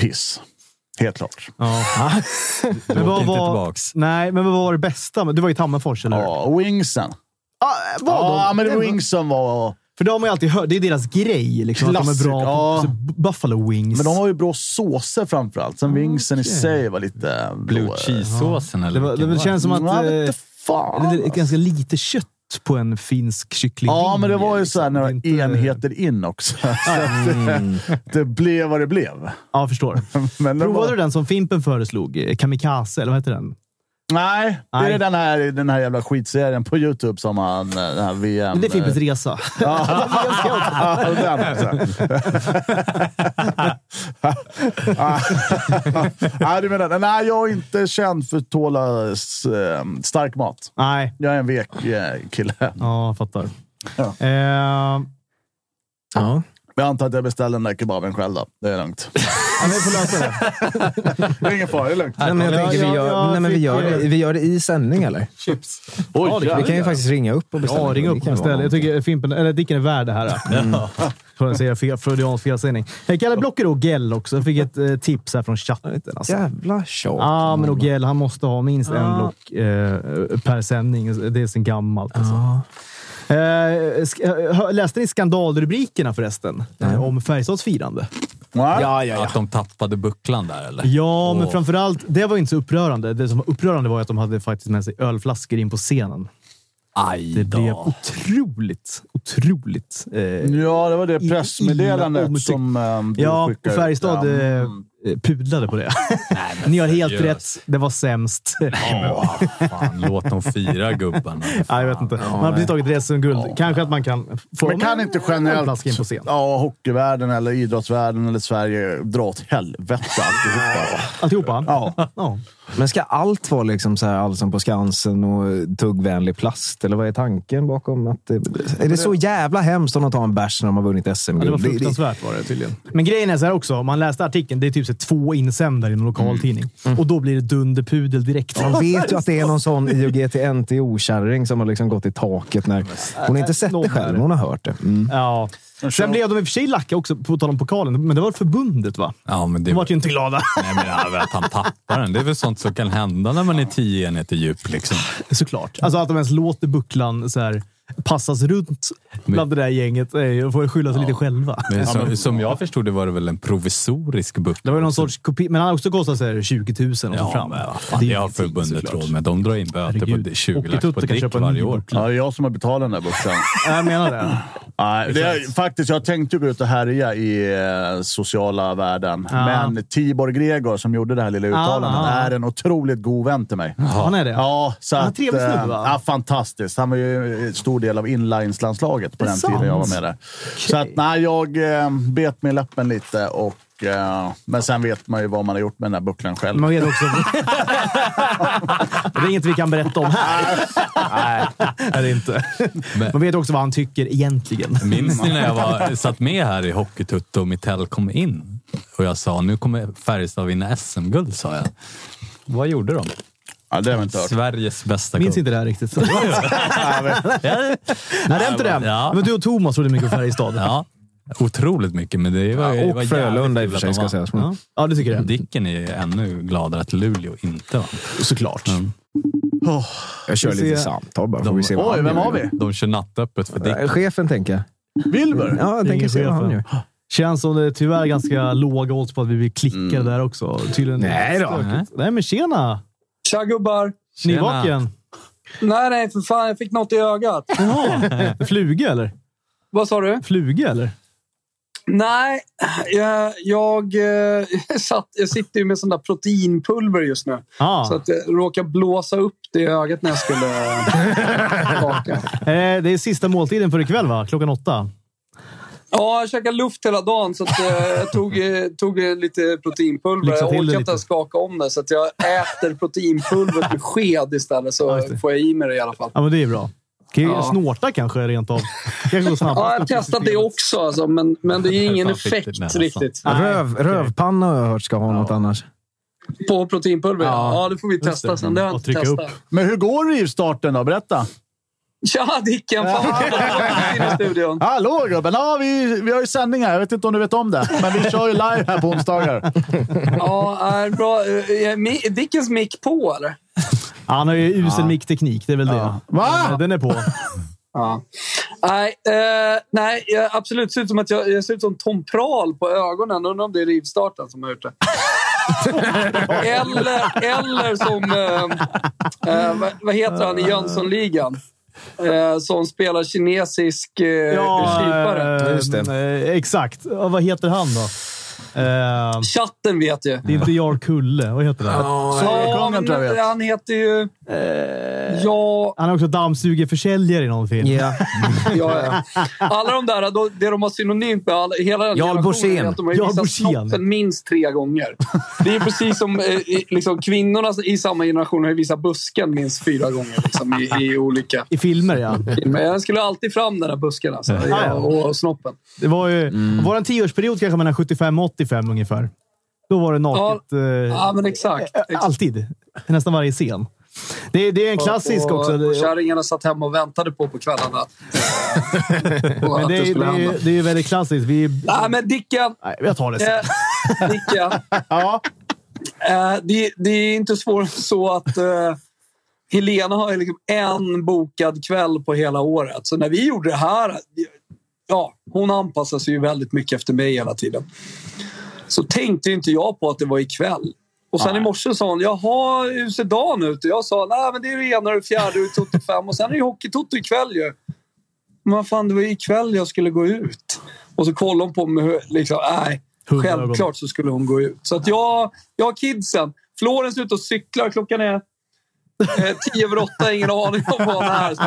piss. Helt klart. ja. Men vad inte var- tillbaks. Nej, men vad var det bästa? Du var i Tammerfors, eller hur? Ja, wingsen. Ah, Ja, de- men det var- wingsen var För det har man ju alltid hört. Det är deras grej. Liksom, att de är Klassik, bra ja. på alltså, Buffalo Wings. Men de har ju bra såser framförallt. Sen vingsen i sig var lite... eh, Blue blå. cheese-såsen eller det, var, det vilken var känns som att... Jag eh, vet inte fan. det är ganska lite kött på en finsk kycklinglinje. Ja, men det var ju liksom. så här några Det är inte- enheter in också. Så att Mm. det, det blev vad det blev. Ja, jag förstår. Men det Provade var, du den som Fimpen föreslog? Eh, Kamikaze, eller vad heter den? Nej, det Nej. är den här, den här jävla skitserien på YouTube som han... eh, Den här eh, VM... Det är Fimpens resa. Ja, den också. alltså. Nej, du menar, nej, jag är inte känd för att tåla s- eh, stark mat. Nej, Jag är en vek eh, kille. ja, jag fattar. Ja. Eh, Ja. Jag antar att jag beställer den där kebaben själv då. Det är lugnt. ja, vi får lösa det. Det är ingen fara, det är lugnt. Nej, men jag Ja, tänker, vi ja, gör, jag nej, men vi fick, gör, det, eh, vi gör det i sändning, eller? Oj, Vi kan ju jävlar. faktiskt ringa upp och beställa. Ja, ring upp Det kan och vara ställ. Jag tycker Fimpen, eller Dicken är värd det här. Mm. Från att säga fel, freudiansk felsägning. Eh, Kalle Blocker och Ogell också. Jag fick ett eh, tips här från chatten. Alltså. Jävla tjat. Ja, men Ogell, han måste ha minst en block eh, per sändning. Det är sen gammalt. Alltså. Ja. Eh, sk- eh, hö- läste ni skandalrubrikerna förresten? Eh, Om Färjestads firande? Va? Ja, ja, ja. Att de tappade bucklan där eller? Ja, men Åh. framförallt, det var inte så upprörande. Det som var upprörande var att de hade faktiskt med sig ölflaskor in på scenen. Aj Det blev då. otroligt, otroligt... Eh, Ja, det var det I- illa pressmeddelandet omtyckt. som eh, du ja, och skickade. Färjestad ut. mm. eh, pudlade på det. Ni har helt seriöst. rätt. Det var sämst. Ja, fan, låt dem fira gubbarna. Ja, jag vet inte. Man har precis tagit reseguld. Kanske att man kan få Men kan en- inte en flaska in på generellt scen. ja, hockeyvärlden, eller idrottsvärlden eller Sverige dra åt helvete alltihopa? Alltihopa? Ja. ja. Men ska allt vara liksom så här Allsång på Skansen och tuggvänlig plast? Eller vad är tanken bakom? att det, Är det så jävla hemskt om de tar en bärs när de har vunnit SM? Ja, det var fruktansvärt var det tydligen. Men grejen är så här också, om man läste artikeln, det är typ så här två insändare i en lokaltidning. Och då blir det dunderpudel direkt. Man vet ju att det är någon sån IOGT-NTO-kärring som har liksom gått i taket. när Hon har inte sett det själv, men hon har hört det. Mm. Ja. Sen blev de i och för sig lacka också, på tal om pokalen, men det var förbundet va? Ja, men det De vart ju inte glada. Nej, men ja, att han tappar den. Det är väl sånt som kan hända när man är tio enheter djup. Liksom. Såklart. Alltså att de ens låter bucklan så här, passas runt bland det där gänget eh, och får skylla sig lite själva. Men som, som jag förstod det var det väl en provisorisk buckla. Det var ju någon sorts kopi, men han har också kostat så här, 20 000 och så Ja, fram. men vad fan, det har förbundet råd med. De drar in böter på Herregud. det- 20 lax på Åkertutte kan däck köpa en ny varje år. buckla. Ja, det är jag som har betalat den där bussen. Jag menar det. Nej, det är, faktiskt, jag tänkte gå ut och härja i eh, sociala världen, Ja. men Tibor Gregor som gjorde det här lilla uttalandet ja. är en otroligt god vän till mig. Han är det? Ja, så Han är en att, trevlig snubbe, eh, va? Ja, fantastiskt. Han var ju en stor del av inlineslandslaget på Det är den tiden jag var med sant. där. Så att, nej, jag eh, bet mig i läppen lite, och, eh, men sen vet man ju vad man har gjort med den där bucklan själv. Man vet också... det är inget vi kan berätta om här. Nej, det är det inte. Men- Man vet också vad han tycker egentligen. Minns ni när jag var, satt med här i Hockeytutte och Mitell kom in? Och jag sa, nu kommer Färjestad vinna SM-guld, sa jag. Vad gjorde de? Ja, det har jag inte hört. Sveriges bästa Minns kupp. inte det här riktigt. Nej, det är inte det. Ja. Men du och Thomas trodde mycket på Färjestad. Ja, otroligt mycket, men det var, det var Och jävligt Frölunda i och kul för att sig, de ska Mm. vann. jag säga. Ja. ja, det tycker jag. Dicken är ju ännu gladare att Luleå inte vann. Mm. Såklart. Jag kör Vi lite ser- samtal bara, får vi se vad Oj, han vem gör. har vi? De kör nattöppet för Eh, Dicken. Chefen, tänker jag. Wilbur? Ja, jag tänker Ingen se vad chef, han va? gör. Känns som det är tyvärr ganska låga odds på att vi blir klickade där också. Tydligen Mm. Nej då. Stökigt. Nej, men tjena! Tja gubbar! Tjena. Nyvaken? Nej, nej, för fan. Jag fick något i ögat. Jaha. Fluga eller? Vad sa du? Fluga eller? Nej, jag, jag, eh, satt, jag sitter ju med sån där proteinpulver just nu. Ah. Så att jag råkar blåsa upp det i ögat när jag skulle baka. Eh, det är sista måltiden för ikväll, va? Klockan åtta. Ja, jag käkade luft hela dagen så att, eh, jag tog, eh, tog eh, lite proteinpulver. Lyxa Jag till det orkar lite. inte ens skaka om det så att jag äter proteinpulvret med sked istället Ja, så just det. får jag i mig det i alla fall. Ja, men det är bra. Kan ju Ja. Snorta kanske rent av. kanske går snabbare. Ja, jag har testat det också alltså, men, men det är ingen Fan, fick det effekt alltså. nästan. riktigt. Nej, Röv, Rövpanna har jag hört ska ha något annars. På proteinpulver? Ja, Ja, ja det får vi testa det. sen. Det har jag Mm. Och inte trycka testat. upp. Men hur går rivstarten då? Berätta. Tja Dicken! Fan vad roligt in i studion. Hallå gubben! Ja, vi, vi har ju sändning här. Jag vet inte om du vet om det, men vi kör ju live här på onsdagar. Ja, är bra. Eh, mi- Dickens mick på eller? Han har ju usel mickteknik, det är väl det. Va? Men Den är på. Ja. Nej, eh, nej jag, absolut. Ser ut som att jag, jag ser ut som Tom Prahl på ögonen. Undrar om det är rivstarten som har gjort det. eller, eller som... Eh, eh, vad, vad heter han i Jönssonligan? Eh, som spelar kinesisk eh, kypare. eh, Just eh, exakt. Ja, vad heter han då? Eh, Chatten vet ju. det är inte Jarl Kulle. Vad heter han? Ja, Kungen men, tror jag vet. han heter ju... Ja, Eh, Han är också dammsugarförsäljare i någon film. Ja. ja, ja. Alla de där, då, det de har synonymt med alla, hela den Jarl generationen Borssén. är att de har Jarl visat Borssén. snoppen minst tre gånger. Det är precis som eh, i- liksom, kvinnorna i samma generation har ju visat busken minst fyra gånger liksom, i, i olika I filmer, ja. filmer. Jag skulle alltid fram den där busken alltså, Ja, ja. och, och snoppen. Mm. Det var ju... Vår tioårsperiod kanske mellan 75 och 85 ungefär. Då var det naket. eh, Ja, men exakt. eh, Alltid. I Nästan varje scen. Det, det är en klassisk och, också. Och Det- kärringarna satt hemma och väntade på på kvällarna. eh, på Men det, att det, är- det, skulle är hända. ju- det är ju väldigt klassiskt. Vi, Nej, men Dickan. nej, jag tar det sen. Eh, Nicka. Eh, det, det är inte svårare än så att eh, Helena har ju liksom en bokad kväll på hela året. Så när vi gjorde det här... Ja, hon anpassar sig ju väldigt mycket efter mig hela tiden. Så tänkte ju inte jag på att det var ikväll. Och sen i morse sa hon, jaha, hur ser dagen ut? Och jag sa, nej men det är det ena och det fjärde och det är Toto fem och sen är det ju Hockeytoto ikväll ju. Men vad fan, det var ju ikväll jag skulle gå ut. Och så kollade hon på mig, hur- liksom, nej. Hundra Självklart så skulle hon gå ut. Så att jag, jag har kidsen. Florens är ute och cyklar. Klockan är eh, tio över åtta. Ingen aning om vad han är. Så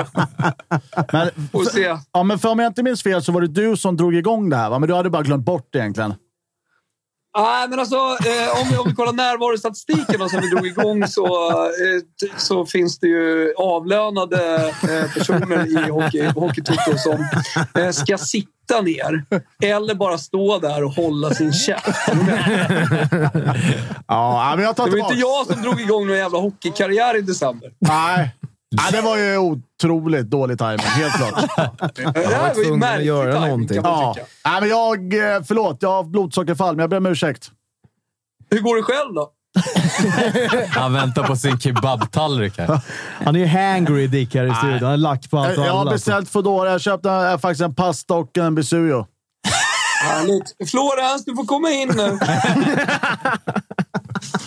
Men, Får se. ja, men för om jag inte minns fel så var det du som drog igång det här, va? men du hade bara glömt bort det egentligen. Nej, men alltså, eh, om, vi, om vi kollar närvarostatistiken då, som vi drog igång så, eh, t- så finns det ju avlönade eh, personer i hockey, Hockeytoto som eh, ska sitta ner eller bara stå där och hålla sin käft. Ja, men jag tar Det var tillbaka. inte jag som drog igång någon jävla hockeykarriär i december. Nej. Nej, det var ju otroligt dålig timing, helt klart. Det var här var ju tvungen att märklig göra timing, någonting. kan man Ja. tycka. Nej, men jag... eh, Förlåt, jag har blodsockerfall, men jag ber om ursäkt. Hur går det själv då? Han väntar på sin kebabtallrik här. Han är ju hangry Dick här i studion. Han är lack på allt Jag och jag har alla. beställt Foodora. Jag köpte eh, faktiskt en pasta och en bisuyo. Härligt. Florens, du får komma in nu.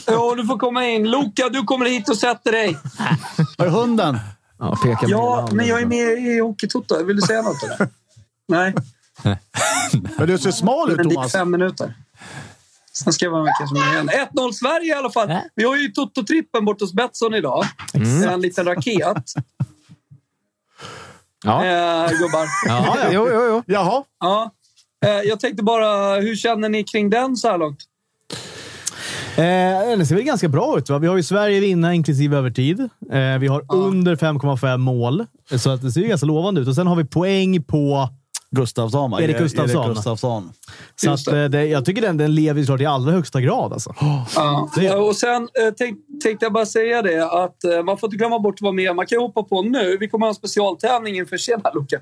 ja, du får komma in. Luca, du kommer hit och sätter dig. Var är hunden? Ja, peka med hela Ja, handen. men jag är med i Hockeytoto. Vill du säga något eller? Nej, Men du ser smal det ut, är dick Thomas. fem minuter. Sen ska jag vara med kanske med igen. 1-0 Sverige i alla fall. Vi har ju Toto-trippen bort hos Betsson idag. En liten raket. Ja. Eh, gubbar. Ja, Jo, jo, jo. Jaha. Ja. Eh, jag tänkte bara, hur känner ni kring den så här långt? Eh, det ser väl ganska bra ut. Va? Vi har ju Sverige vinna inklusive övertid. Eh, vi har under 5,5 mål. Så att det ser ju ganska lovande ut. Och sen har vi poäng på... Gustavsson, va? Erik Gustafsson. Oh Erik Gustafsson. Så Just att, eh, det, jag tycker den, den lever ju såklart i allra högsta grad. Alltså. Ja. Det- Eh, Och sen eh, tänk, tänkte jag bara säga det att eh, man får inte glömma bort att vara med. Man kan ju hoppa på nu. Vi kommer ha en specialtävling inför... Tjena Luca!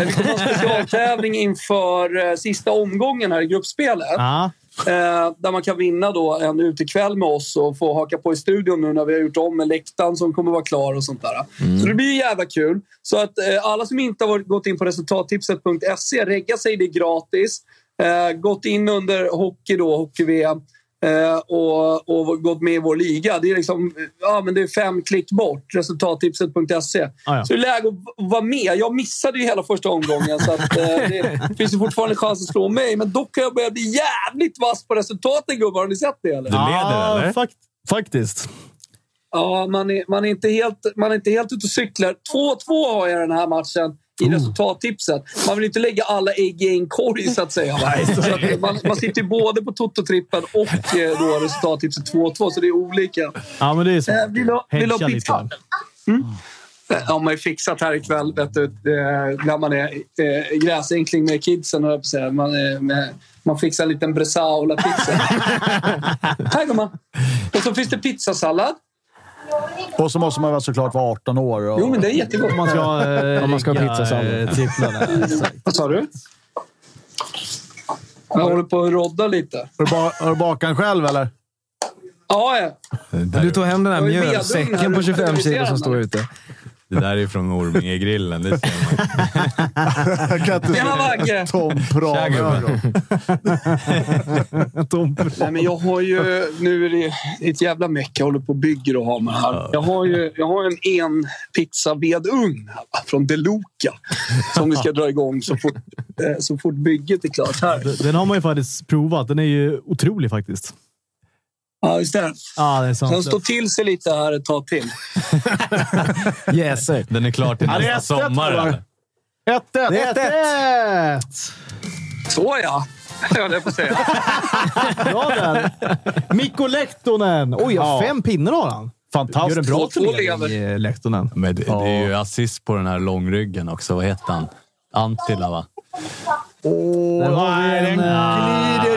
Eh, vi kommer ha en specialtävling inför eh, sista omgången här i gruppspelet. Ja. Eh, där man kan vinna då en utekväll med oss och få haka på i studion nu när vi har gjort om med läktaren som kommer vara klar och sånt där. Mm. Så det blir ju jävla kul. Så att eh, alla som inte har varit- gått in på resultattipset.se, regga sig, det är gratis. Eh, gått in under hockey då, hockey-VM. eh, Och, och gått med i vår liga. Det är liksom ja, men det är fem klick bort. Resultattipset.se. Ah, ja. Så det är läge att v- vara med. Jag missade ju hela första omgången så att, eh, det finns ju fortfarande chans att slå mig. Men dock har jag börjat bli jävligt vass på resultaten gubbar. Har ni sett det eller? Du leder eller? fakt faktiskt. Ja, man är, man är, inte, helt, man är inte helt ute och cyklar. 2-2 har jag den här matchen i resultattipset. Man vill inte lägga alla ägg i en korg så att säga. så att man, man sitter ju både på Toto-trippen och eh, då resultattipset 2-2 så det är olika. Ja, men det är så. Eh, Vill du ha- vill du ha Hedga lite pizza? där. Mm. De har ju fixat här ikväll, vet du, eh, när man är eh, gräsänkling med kidsen, höll jag på att säga. Man, eh, med, man fixar en liten bresaola-pizza. här gumman! Och så finns det pizzasallad. Och så måste man väl såklart vara 18 år. Och... Jo, men det är jättegott. Om man ska, eh, Om man ska ha rigga, pizzasallad. eh, tripplarna. Mm. Vad sa du? Jag håller på att rodda lite. Har du ba- Har du bakat den själv, eller? Ja, ja. Det där Du tog hem den där Jag är vedugn här, mjölsäcken du på måste 25 kilo reducera som den. står ute. Det där är från Orminge-grillen. Det ser man. Jag kan inte Tjena, Bagge! Tom Tja, gubben. Prahl. Tom, Nej, men jag har ju... Nu är det ett jävla meck jag håller på och bygger och har med här. Jag har ju jag har en en pizza vedugn här, va, från Deluca som vi ska dra igång så fort, eh, så fort bygget är klart här. den har man ju faktiskt provat. Den är ju otrolig faktiskt. Ja, just det. Ja, det är Den sant. står till sig lite här ett tag till. Yes, sir. Den är klar till Ja, det är nästa ett sätt, sommar. va? eller? 1-1. Det är ett, ett. Så ja, höll jag på att säga. Bra där! Mikko Lehtonen! Oj, ja. Ja. fem pinnar har han. Gör en Fantastiskt. bra Två lever. turnering, eh, Lehtonen. Men det, det är ju assist på den här långryggen också. Vad heter han? Antila, va? Där har vi Nej, den en, eh,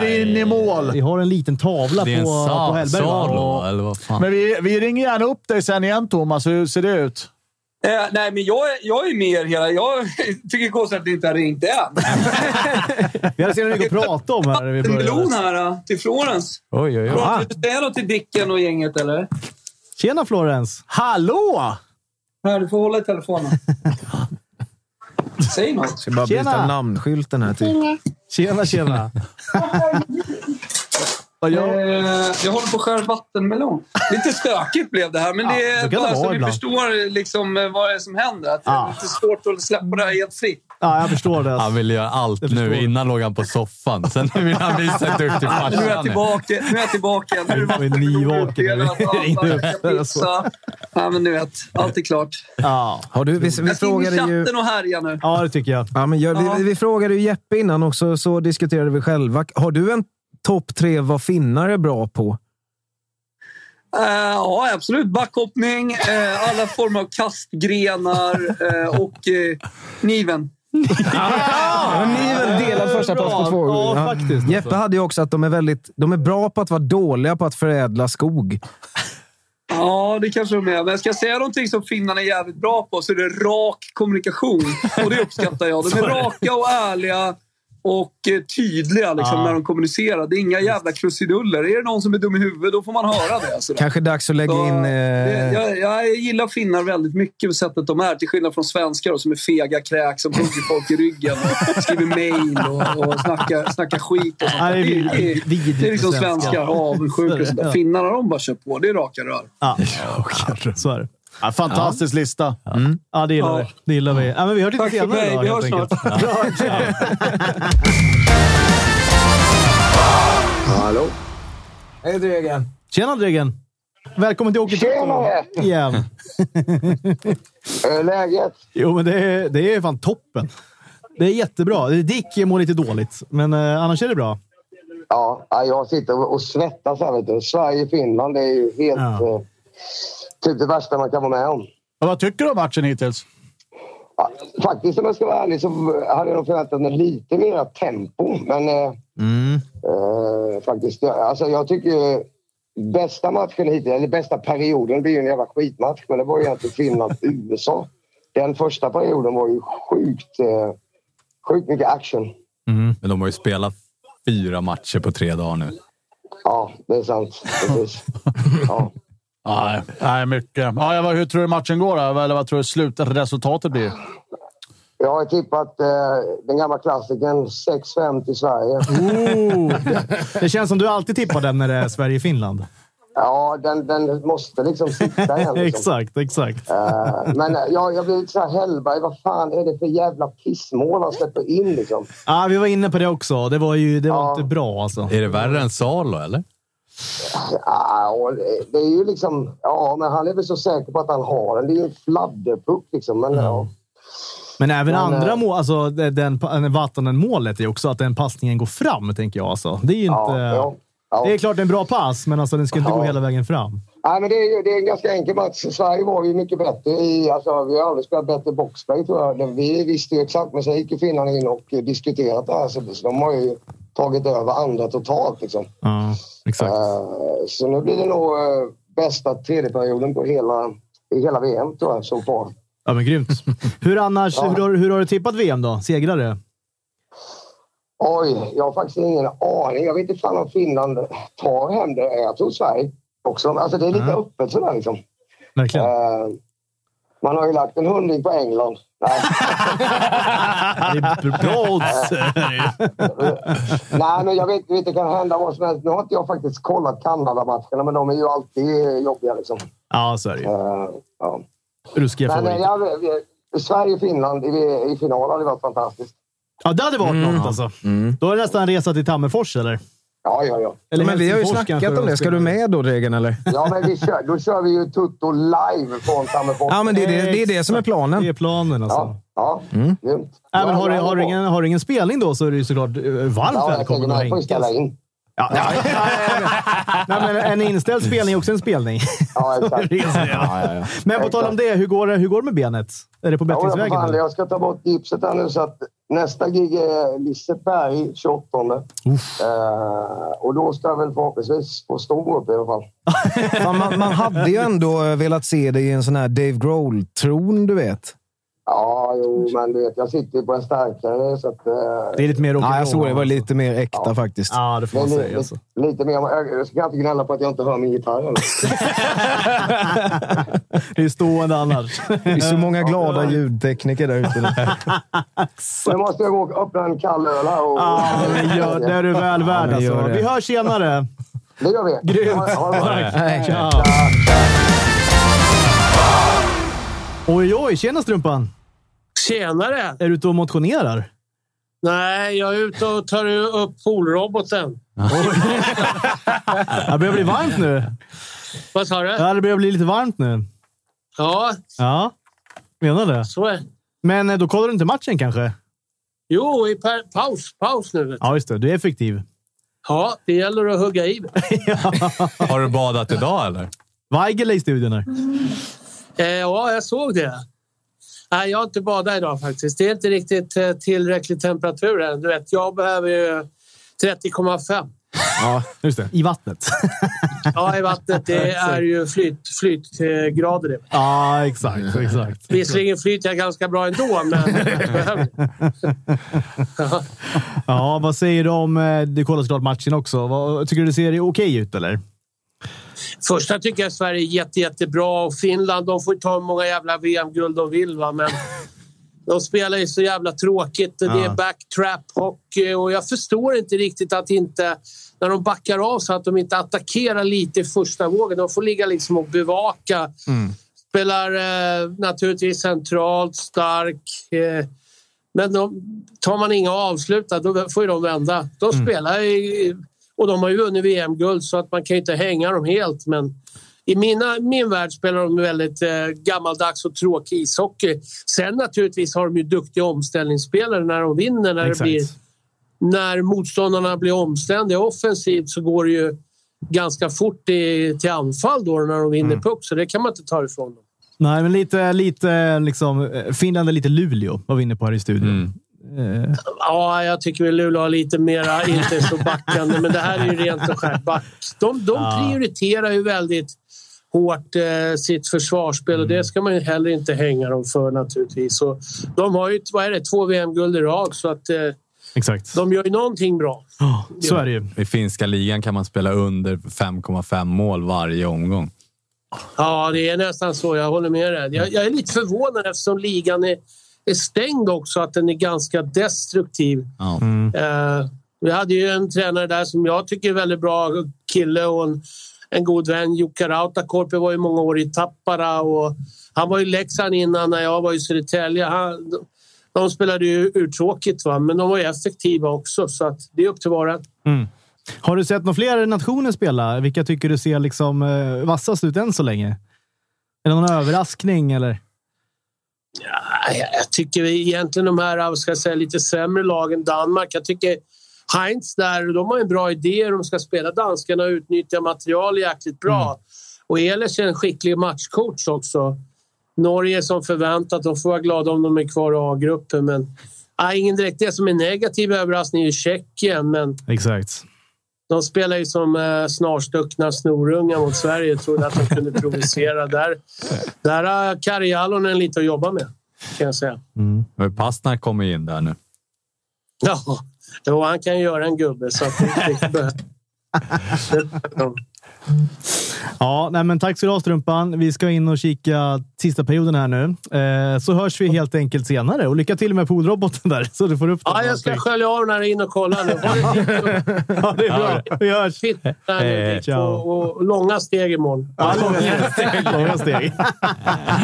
glider in i mål. Vi har en liten tavla Det är en på, på sa, Hellberg. va? Salo, eller vad fan? Men vi, vi ringer gärna upp dig sen igen, Thomas. Hur ser det ut? Eh, nej, men jag, är- jag är med er hela... Jag tycker det är konstigt att ni inte har ringt än. Vi hade så mycket att prata om här. när Vi Melon började. här eh, till Florens. Oj, oj, oj. Ah. Vill du säga något till Dicken och gänget eller? Tjena Florens! Hallå! Här, du får hålla i telefonen. Säg något. Ska bara Tjena. byta namnskylten här typ? till. Tjena, tjena! Vad Eh, gör jag håller på att skära vattenmelon. Lite stökigt blev det här, men det så är kan det bara så vara ni ibland. förstår liksom, eh, vad det är som händer. Att Det Ah. är lite svårt att släppa det här helt fritt. Ja, jag förstår det. Han ville göra allt Jag förstår. nu. Innan låg han på soffan. Sen vill han visa ett upp till farsan. Nu är jag tillbaka. Nu är jag tillbaka. Nu är det Du är vattenmelon nyvaken. utdelat. Alla ska Eller så. pizza. Ja, men nu vet. Allt är klart. Ja. Har du, vi, vi Jag ska in i frågade ju... chatten och härja nu. ja, det tycker jag. Ja, men gör, Ja. vi, vi frågade ju Jeppe innan och så, så diskuterade vi själva. Har du en topp tre vad finnar är bra på? Eh, ja, absolut. Backhoppning, eh, alla former av kastgrenar eh, och eh, kniven. Ja, ni är väl delad första Bra. plats på två. Ja, alltså. faktiskt. Jeppe hade ju också att de är, väldigt, de är bra på att vara dåliga på att förädla skog. Ja, det kanske de är. Men ska jag säga någonting som finnarna är jävligt bra på så är det rak kommunikation. Och det uppskattar jag. De är raka och ärliga och eh, tydliga liksom, Ja. när de kommunicerar. Det är inga jävla krusiduller. Är det någon som är dum i huvudet, då får man höra det. Alltså. Kanske dags att lägga Så, in... det- Eh, jag, jag gillar finnar väldigt mycket på sättet de är. Till skillnad från svenskar då, som är fega kräk som hugger folk i ryggen och skriver mail och, och snackar, snackar skit. Och sånt. Ja, det är vid- vidrigt det är liksom för svenskar. svenskar avundsjuka och sånt där. Finnarna de bara kör på. Det är raka rör. Ja. Så är det. Ja, fantastisk lista. Ja, det gillar Ja. vi. Det gillar vi. Ja, men vi hörs lite Tack för senare mig. idag, Vi helt hörs enkelt. snart. Hej Dregen! Tjena Dregen! Välkommen till Åker Tjena! Toto igen. Hur är läget? Jo, men det är, det är fan toppen. Det är jättebra. Dick mår lite dåligt, men eh, annars är det bra. Ja, ja, jag sitter och- och svettas här. Vet du. Sverige Finland det är ju helt... Ja. Eh, typ det värsta man kan vara med om. Ja, Vad tycker du om matchen hittills? Ja, faktiskt om jag ska vara ärlig så hade jag nog förväntat mig lite mer tempo. Men eh, eh, faktiskt, ja, alltså, jag tycker ju bästa matchen hittills, eller bästa perioden, blir ju en jävla skitmatch. Men det var ju egentligen Finland-USA. Den första perioden var ju sjukt, eh, sjukt mycket action. Mm. Men de har ju spelat fyra matcher på tre dagar nu. Ja, det är sant. Precis. Ja. Nej, nej mycket. Ja, jag, var- hur tror du matchen går? Då? Eller vad tror du slutresultatet blir? Jag har tippat eh, den gamla klassikern 6-5 till Sverige. Oh, det, det känns som du alltid tippar den när det är Sverige-Finland. Ja, den, den måste liksom sitta igen. Liksom. exakt, exakt. Eh, men eh, jag, jag blir lite så här Hellberg, vad fan är det för jävla pissmål han släpper in liksom? Ja, vi var inne på det också. Det var ju det var Ja. inte bra alltså. Är det värre än Salo, eller? Ja, och det- det är ju liksom, ja men han är väl så säker på att han har den. Det är ju en fladderpuck liksom. Men, ja. Men även Men, andra eh, mål, alltså det- den, den Vatanen-målet är också att den passningen går fram, tänker jag. Alltså. Det är ju inte... Ja, ja, ja. Det är klart det är en bra pass, men alltså, den ska inte gå Ja. hela vägen fram. Nej, men det, är, ju- det är en ganska enkel match. Sverige var ju mycket bättre. I, alltså, vi har aldrig spelat bättre boxplay tror jag. Vi visste ju exakt, men sen gick ju finnarna in och eh, diskuterat det här. Så så de har ju tagit över andra totalt. Liksom. Ja, exakt. Eh, så nu blir det nog eh, bästa tredjeperioden på hela, i hela VM tror jag, så far. Ja, men grymt. Hur annars? Ja. Hur, har, hur har du tippat VM då? Segrare? Oj, jag har faktiskt ingen aning. Jag vet inte fan om Finland tar hem det. Jag tror Sverige också. Alltså, det är lite Ja. öppet sådär liksom. Verkligen. Eh, Man har ju lagt en hundring på England. Nej, Det är bra odds. Nej men jag vet, vet det kan hända vad som helst. Nu har inte jag faktiskt kollat Kanada-matcherna, men de är ju alltid eh, jobbiga. Liksom. Ja, så är det ju. Eh, ja. Ruskiga Men eh, favoriter. jag, vi- Sverige-Finland i, i final hade varit fantastiskt. Ja, det hade varit Mm. något alltså. Då är det nästan en resa till Tammerfors, eller? Ja, ja, ja. eller men vi har ju Helsingfors snackat kanske om det. Ska du med då, Dregen, eller? Ja, men vi kör, då kör vi ju Tutto live från Tammerfors. Ja, men det är det, det, är det som är Det är planen. planen alltså. Ja, ja grymt. Äh, men har, du, Ja, har, du ingen, har du ingen spelning då så är du ju såklart eh, varmt Ja, jag välkommen tänker man att får ju hänga. ställa in. Ja, ja, ja, ja, ja. Nej, men en inställd spelning är också en spelning. Ja, exakt. Reser jag. Ja, ja, ja. Men på tal om det, hur går det, hur går det med benet? Är det på Ja, jag, bättringsvägen? fan, eller? jag ska ta bort gipset här nu så att nästa gig är Liseberg 28. Eh, och då ska jag väl förhoppningsvis få stå upp i alla fall. Fan, man, man hade ju ändå velat se dig i en sån här Dave Grohl-tron, du vet. Ja, jo, men du vet, jag sitter ju på en starkare så att... eh, Det är lite mer rock'n'roll. Nej, jag såg det. Det var lite mer äkta faktiskt. Ja, det får man det är säga. Alltså. lite, lite mer... Jag ska inte gnälla på att jag inte hör min gitarr. eller? Det är ju stående annars. Det är så många glada ljudtekniker där ute. nu. Nu måste jag gå och öppna en kall öl här. Och, Ja, men gör, det är du väl värd men gör alltså. det. Vi hörs senare. Det gör vi. Grymt! Ha- ha det bra. Tack! Ciao. Oj, oj, tjena Strumpan! Tjenare! Är du ute och motionerar? Nej, jag är ute och tar upp poolroboten. Ja, Det börjar bli varmt nu. Vad sa du? Ja, det börjar bli lite varmt nu. Ja, Ja, menar det. så är Men eh, då kollar du inte matchen kanske? Jo, i pa- paus, paus nu. vet du. Ja, just det. Du är effektiv. Ja, det gäller att hugga i. Har du badat idag eller? Weigel är i studion här. Eh, ja, jag såg det. Nej, jag har inte badat idag faktiskt. Det är inte riktigt eh, tillräcklig temperatur än. Du vet, jag behöver ju 30,5. Ja, just det. I vattnet. Ja, i vattnet. Det är ju flyt, flytgrader. det. Ja, exakt. exakt. Visserligen flyter jag ganska bra ändå, men jag behöver det. Ja, vad säger du om... eh, Du kollar såklart matchen också. Vad, tycker du det ser okej ut, eller? Första tycker jag Sverige är jätte, jättebra och Finland de får ju ta hur många jävla VM-guld de vill. Va? Men de spelar ju så jävla tråkigt. och Det Ja. är backtrap hockey och jag förstår inte riktigt att inte när de backar av så att de inte attackerar lite i första vågen. De får ligga liksom och bevaka. Spelar eh, naturligtvis centralt, stark. Eh, men de, tar man inga avsluta då får ju de vända. De spelar ju, och de har ju vunnit VM-guld så att man kan ju inte hänga dem helt. Men i mina, min värld spelar de väldigt eh, gammaldags och tråkig ishockey. Sen naturligtvis har de ju duktiga omställningsspelare när de vinner. När, det Exakt. blir, när motståndarna blir omständiga offensivt så går det ju ganska fort i, till anfall då när de vinner puck. Så det kan man inte ta ifrån dem. Nej, men lite... lite liksom, eh, Finland är lite Luleå, var vi inne på här i studion. Mm. Eh, Ja, jag tycker väl Luleå har lite mera, inte så backande, men det här är ju rent och skärt back. De, de Ja. prioriterar ju väldigt hårt eh, sitt försvarsspel och det ska man ju heller inte hänga dem för naturligtvis. Så de har ju vad är det, två VM-guld i rad så att eh, exakt. de gör ju någonting bra. Ja, så är det ju. I finska ligan kan man spela under 5,5 mål varje omgång. Ja, det är nästan så. Jag håller med dig. Jag, jag är lite förvånad eftersom ligan är, är stängd också, att den är ganska destruktiv. Ja. mm. Eh, vi hade ju en tränare där som jag tycker är väldigt bra kille och en, en god vän. Jukka Rautakorpi var ju många år i Tappara och han var i Leksand innan när jag var i Södertälje. Han, de spelade ju urtråkigt, va? men de var ju effektiva också så att det är upp till var och en. Mm. Har du sett några fler nationer spela? Vilka tycker du ser liksom, eh, vassast ut än så länge? Är det någon överraskning, eller? Nej, jag- Jag tycker egentligen de här vad ska jag säga, lite sämre lagen, Danmark. Jag tycker Heinz där, de har en bra idé hur de ska spela danskarna och utnyttja material jäkligt bra. Och Ehlers är en skicklig matchcoach också. Norge som förväntat, de får vara glada om de är kvar i A-gruppen. Men, nej, ingen direkt det som är negativ överraskning är ju Tjeckien, men Exakt. de spelar ju som eh, snarstuckna snorungar mot Sverige och trodde att de kunde provocera. Där, där har Kari Jalonen lite att jobba med, kan jag säga. Mm. Men Pastnak kommer ju in där nu. Ja, jo, han kan göra en gubbe så att det, det, behövs. Ja, nej, men tack så du ha, Strumpan. Vi ska in och kika sista perioden här nu. Eh, så hörs vi helt enkelt senare. Och lycka till med poolroboten där, så du får upp den. Ja, jag ska skölja av när jag är inne och kollar nu. Var det Ja, det är bra. Vi hörs! Eh, fitt där nu, Dick? och, och långa steg imorgon. Ja, långa steg. Långa steg.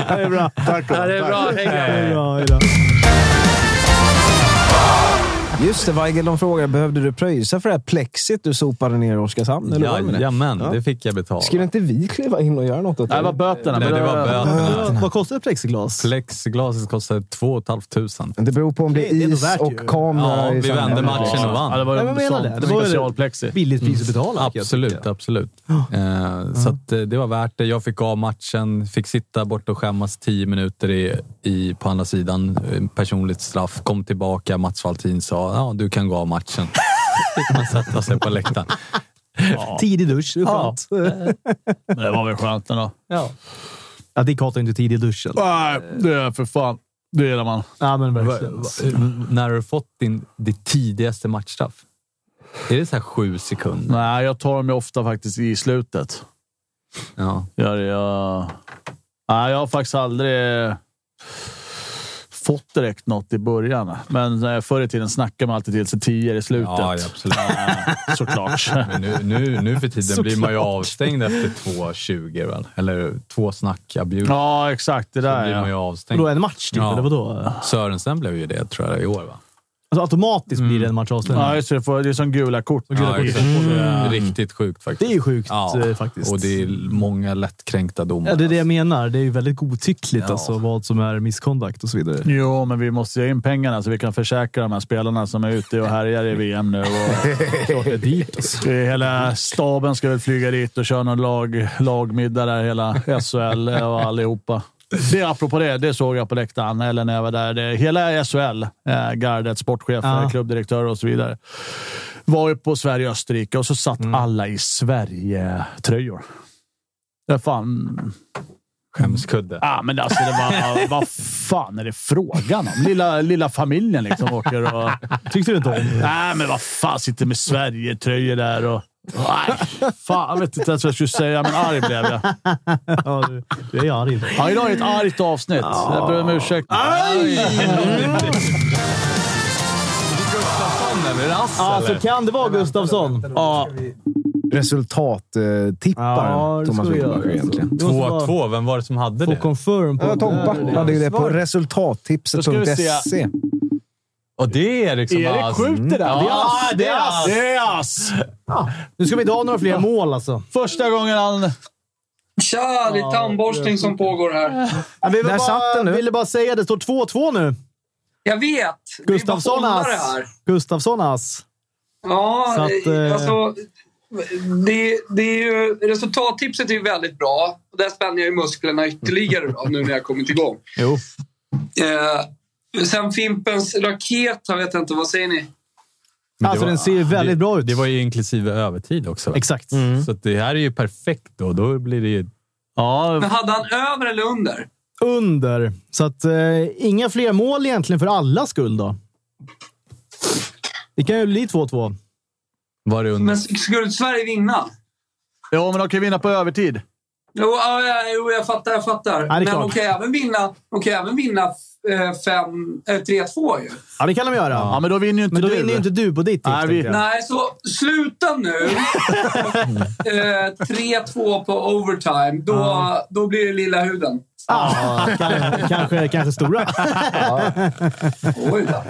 Det är bra. Tack. Ja, det är bra. Hej grabbar. Det är bra. Hej då. Eh. Just det, Weigel, de frågar behövde du pröjsa för det här plexit du sopade ner i Oskarshamn? Eller vad var det med det? Jajamän, Ja. det fick jag betala. Skulle inte vi kliva in och göra något åt det? Nej, det var böterna. Nej, men det var böterna. Vad kostar ett plexiglas? Plexiglaset kostade 2 500. Men Det beror på om det är Det är nog is värt ju. och kamera. Ja, i vi samma vände rum. matchen och Ja, det vann. Mm. var Nej, men jag menar det. Det var ju- specialplexi. Billigt pris att betala. kan jag Absolut, tycka. absolut. Eh, så att, eh, det var värt det. Jag fick av matchen, fick sitta borta och skämmas 10 minuter i, i, på andra sidan. eh, Personligt straff. Kom tillbaka, Mats Valtin sa ja, du kan gå av matchen. Fick man sätta sig på läktaren. Tidig dusch. Det är skönt. Men det var väl skönt ändå. Ja, Dick hatar ju inte tidig dusch. eller? Nej, det är för fan. Det gillar man. Ja, men Va, verkligen. va, när har du fått din, ditt tidigaste matchstraff? Är det så här sju sekunder? Nej, jag tar dem ju ofta faktiskt i slutet. Ja. Jag, jag, nej, jag har faktiskt aldrig fått direkt något i början. Men eh, förr i tiden snackade man alltid till sig tio i slutet. Ja, ja, absolut. Ja, Såklart. Men nu, nu, nu för tiden blir man ju avstängd efter 2.20, väl? eller två snack abuse. Ja, exakt. Det Då där blir man ju ja. avstängd. Vadå, en match typ? Ja. Eller vadå? Sörensen blev ju det, tror jag, i år. Va? Alltså, automatiskt blir det en match avstängning. Mm. ja just det, för det är Mm. som gula kort. Ja, exakt. Mm. Mm. Riktigt sjukt faktiskt. Det är ju sjukt Ja, eh, faktiskt. och det är många lättkränkta domar. Ja, det är det jag menar. Det är ju väldigt godtyckligt Ja. alltså, vad som är misconduct och så vidare. Jo, men vi måste ju ha in pengarna så vi kan försäkra de här spelarna som är ute och härjar i VM nu. Och det dit, Hela staben ska väl flyga dit och köra någon lag, lagmiddag där, hela SHL och allihopa. Det apropå det, det såg jag på läktaren, eller när jag var där. Det, hela SHL, eh, gardet, sportchefer, Ja. klubbdirektörer och så vidare, var ju på Sverige-Österrike och så satt alla i Sverige-tröjor. Det är fan, Skämskudde. Ja, men alltså, det var, vad fan är det frågan om? Lilla, lilla familjen liksom åker och... Tyckte du inte om? Nej, men vad fan. Sitter med Sverige-tröjor där och... Nej, fan. Jag vet inte ens vad jag skulle säga, men arg blev jag. Ja, du, du är ju arg. Ja, idag är ett argt avsnitt. Jag ber om ursäkt. Ja, så kan det vara Gustafsson. Ja, Resultattipparen, Ja, det Thomas ska vi göra. Wickberger egentligen. Det måste vara- 2-2, vem var det som hade Få det? confirm på Ja, Tompa hade ju det på Då ska vi resultattipset.se. se. Och det är liksom Mm. Erik som Erik skjuter där. Ja, det är ass. ass. Det är ass. Nu ska vi inte ha några fler mål alltså. Första gången han... Tja, det är tandborstning som pågår här. Jag ville Där satt den nu. ville bara säga det. står 2-2 nu. Jag vet! det är Gustafsson bara bollare ass. här. Gustafsson ass. Ja, Så att, eh, alltså... Det, det är ju, resultattipset är ju väldigt bra. Och där spänner jag ju musklerna ytterligare då, nu när jag kommit igång. Jo. Eh, sen Fimpens raket, jag vet inte, vad säger ni? Men det Alltså, den ser ju väldigt det, bra ut. Det var ju inklusive övertid också. va? Mm. Exakt. Mm. Så att det här är ju perfekt då. Då blir det ju... Ja, Men hade han över eller under? Under. Så att eh, inga fler mål egentligen för alla skull då. Det kan ju bli 2-2. Var det under? Men skulle Sverige vinna? jo, men de kan vinna på övertid. Jo, ja, ja, jo jag fattar, jag fattar. Ja, det är Men klart. de kan även vinna, de kan även vinna eh, fem- eh, 3-2 ju. Ja, det kan de göra. Ja, men då vinner ju inte Men då du. vinner ju inte du på ditt tips. Nej, vi- tänkte jag. Nej, så sluta nu. eh, 3-2 på overtime. Då, då blir det lilla huden. Ah, kan- kanske, kanske stora. Oj då.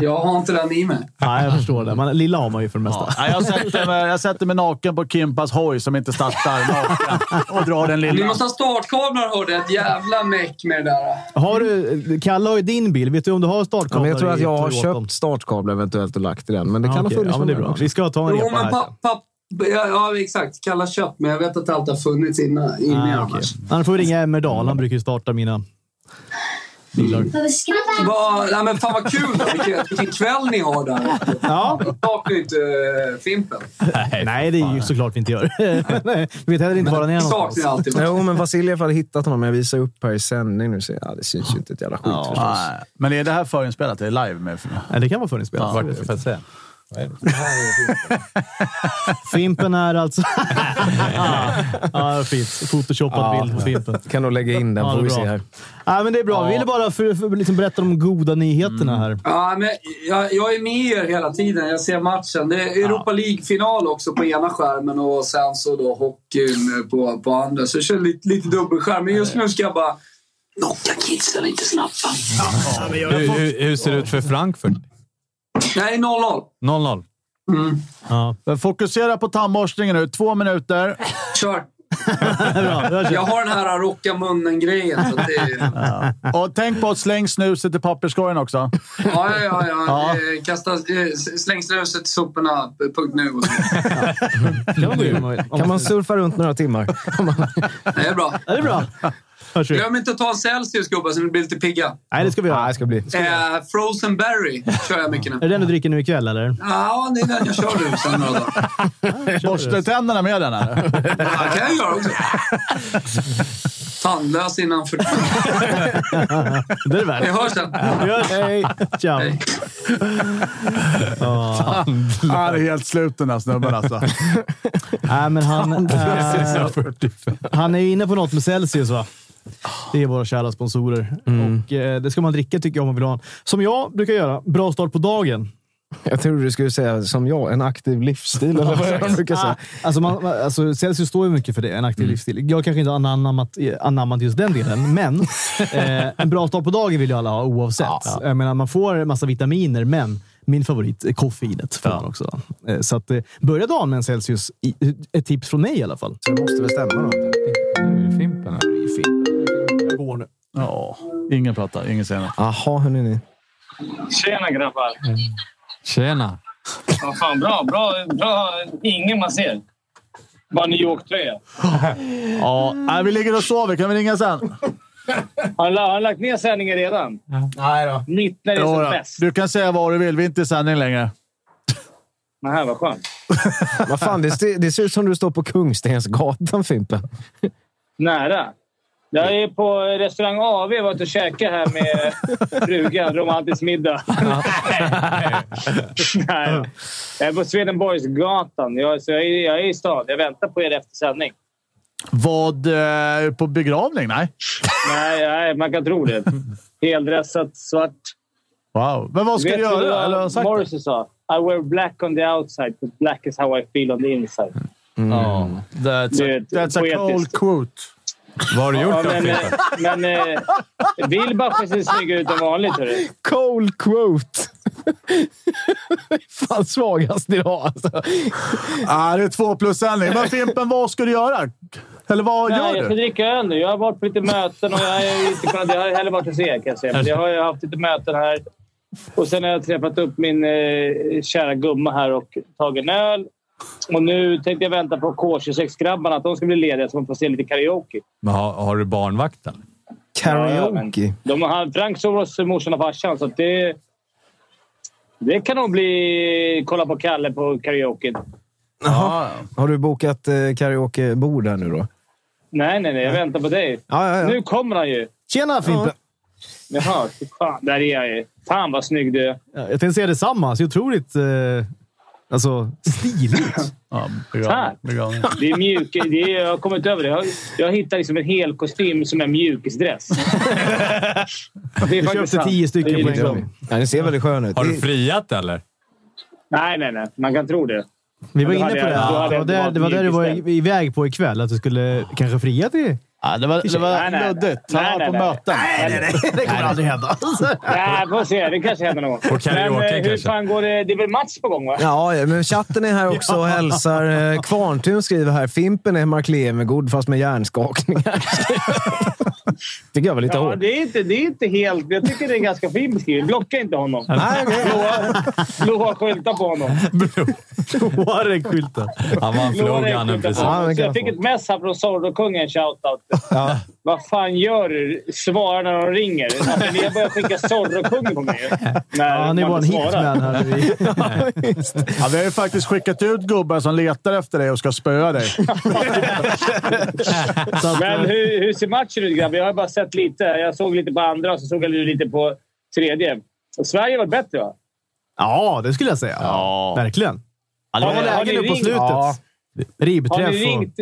Jag har inte den i mig. Nej, jag förstår det. Man, lilla har man ju för det mesta. Ja, alltså- jag, sätter mig, jag sätter mig naken på Kimpas hoj som inte startar naken och drar den Ni lilla. måste ha startkablar hörde jag. Ett jävla meck med det där. Har du, Kalle har ju din bil. Vet du om du har Ja, startkablar? men jag tror att i jag har Toyotan? köpt startkablar eventuellt och lagt i den, men det Ja, kan okej. ha funnits ja, men det är någon bra. annan. Vi ska ta en Jo, repa men här sen. papp, papp, ja, ja, exakt. Kalla kött, men jag vet att det alltid har funnits innan. innan Ah, okej. annars. Annars får vi ringa Emmerdal. Han brukar ju starta mina bilar. Vad- nej, men fan vad kul! Då. Vilken, vilken kväll ni har där. Ja. Jag saknar ju inte eh, Fimpen. Nej, det är ju såklart vi inte gör. Nej, vi vet heller inte var han är Det någonstans. saknar jag alltid. Jo, men Vasiljev hade hittat honom. Jag visar upp här i sändning nu. Så, ja, det syns ju inte ett jävla skit förstås. Nej. Men är det här förinspelat? Det är live med Nej, det kan vara förrän spelat. Vart, får jag säga? Fimpen är alltså... ja, ja, fint. Photoshoppad bild på Fimpen. Kan nog lägga in den, Ja, får det vi är se bra. här. Ja, Mm. men det är bra. Vi ville bara för, för, liksom berätta de goda nyheterna här. Ja, men jag, jag är med er hela tiden. Jag ser matchen. Det är Europa League-final också på ena skärmen och sen så då hockeyn eh, på, på andra. Så jag kör lite, lite dubbelskärm. Men just nu ska jag bara... Knocka kidsen lite snabbt. va? Hur, hur, hur ser det ut för Frankfurt? Nej, Mm. 0-0. 0-0. Ja. Fokusera på tandborstningen nu. Två minuter. Kör! Det är bra. Jag kör. Jag har den här rocka munnen-grejen. så att det- Och tänk på att släng snuset i papperskorgen också. Ja, ja, ja. ja. Ja. Eh, Kasta, eh, s- släng snuset i soporna. Punkt nu. Och så. Kan man gå in och- Kan man surfa runt några timmar? Det är bra. Ja, det är bra. Hörs vi. Glöm inte att ta en Celsius, gubbar, så ni blir lite pigga. Nej, det ska vi göra. Nej, det ska bli. Eh, frozen berry kör jag mycket nu. Är det den du dricker nu ikväll, eller? Ja, det är den jag kör nu sen några dagar. Borsta tänderna med den här. Ja, Det kan jag göra också. Tandlös innan 40. Det är det väl. Vi hörs sen. Vi hörs. Hej. Ciao. Hej. Han är helt slut den här snubben alltså. Nej, men han, eh, 45. han är ju inne på något med Celsius, va? Ah. Det är våra kära sponsorer. Mm. Och, eh, det ska man dricka tycker jag om man vill ha en. Som jag brukar göra. Bra start på dagen. Jag trodde du skulle säga som jag, en aktiv livsstil eller vad jag brukar Ah, säga. alltså man, alltså Celsius står ju mycket för det, en aktiv livsstil. Jag kanske inte har anammat, anammat just den delen, men eh, en bra start på dagen vill ju alla ha oavsett. Jag menar, man får en massa vitaminer, men min favorit är koffeinet. Får man också. Eh, så att, eh, börja dagen med en Celsius. I, ett tips från mig i alla fall. Du måste bestämma något. Fimpen här. Ja, ingen pratar, ingen säger något. Jaha, hörni ni. Tjena grabbar! Tjena! Ja, fan, bra, bra, bra. Ingen man ser. Bara New York-tröja. Ja, nej, vi ligger och sover. Kan vi ringa sen? Har han la- har han lagt ner sändningen redan? Nej då. Mitt när det är Jo som då. bäst. Du kan säga vad du vill. Vi är inte i sändning längre. Men här, vad skönt. Vad fan, det, ser- det ser ut som du står på Kungstensgatan, Fimpen. Nära. Jag är på restaurang AV varit och käkat här med frugan. Romantisk middag. Nej. Jag är på Swedenborgsgatan. Jag, så jag, är, jag är i stan. Jag väntar på er efter sändning. Vad? Eh, på begravning? Nej. Nej, nej, man kan tro det. Heldressat, svart. Wow. Men vad ska du du göra? Eller har jag vad sagt det? Morrissey sa? I wear black on the outside, but black is how I feel on the inside. Mm. Ja, that's, Det är a, that's a cold poetiskt. quote. Vad har du gjort Ja, då, men eh, Fimpen? men eh, Wilbach ser snyggare ut än vanligt. Hörru. Cold quote! fan svagast idag alltså. Ah, det är två plus sändning. Men Fimpen, vad ska du göra? Eller vad Nej, jag gör ska du? dricka öl nu. Jag har varit på lite möten och jag har inte kunnat... Jag har heller varit hos er kan jag säga. Men jag har ju haft lite möten här. Och sen har jag träffat upp min eh, kära gumma här och tagit en öl. Och nu tänkte jag vänta på K26-grabbarna, att de ska bli lediga så man får se lite karaoke. Men har, har du barnvakt eller? Karaoke. De har, Frank sov hos morsan och farsan, så att det... Det kan nog bli... Kolla på Kalle på karaoke. Jaha. Har du bokat eh, karaokebord här nu då? Nej, nej, nej. Jag väntar på dig. Ja, ja, ja. Nu kommer han ju! Tjena Fimpen! Jaha, fy fan. Där är jag ju. Fan vad snygg du är. Ja, Jag tänkte säga detsamma. Så otroligt eh, alltså, stiligt. Ja, Tack. Det är mjuk. Det är, jag har kommit över det. Jag, jag hittar liksom en hel kostym som är mjukisdress. Det är Du faktiskt köpte sant. tio stycken på Det är liksom- en gång. Ja, den ser väldigt skön ut. Har du Det- friat eller? Nej, nej, nej. Man kan tro det. Vi var Då inne på hade det. jag- då här. hade jag valt Det var där, det var där du var mjukis iväg på ikväll. Att du skulle kanske fria till... det var, det var Nej, nej, nej. luddigt. Han Nej, var nej, på nej. möten. Det kommer aldrig hända. Nej, får se. Det kanske händer någon gång. Och karaoke Men, eh, hur kanske. fan går det? Det är väl match på gång, va? Ja, ja, men chatten är här också och hälsar. Eh, Kvarntun skriver här, Fimpen är Mark Levengood fast med hjärnskakningar. tycker jag var lite Ja, hårt. det är, inte, det är inte helt... Jag tycker det är en ganska fin beskrivning. Blocka inte honom. Nej, okej. Blåa skyltar på honom. Warek-skylten. Han vann Blåa frågan skyltar på precis. Ja, honom. Så det kan jag jag fick få. ett mess här från Zorro-kungen. Shoutout. Ja. Vad fan gör du? Svara när de ringer. Alltså, ni har börjat skicka Zorro-kungen på mig. När Ja, han är man bara en svarar. hitman här. Vi- Ja, vi har ju faktiskt skickat ut gubbar som letar efter dig och ska spöa dig. Så att, Men eh, hur, hur ser matchen ut grabbar? Jag har bara sett lite. Jag såg lite på andra och så såg jag lite på tredje. Och Sverige var bättre va? Ja, det skulle jag säga. Verkligen. Ja, det Han var var- har lägen ni nu på ringt? slutet. Ja. Har Ribbträff ni och... ringt,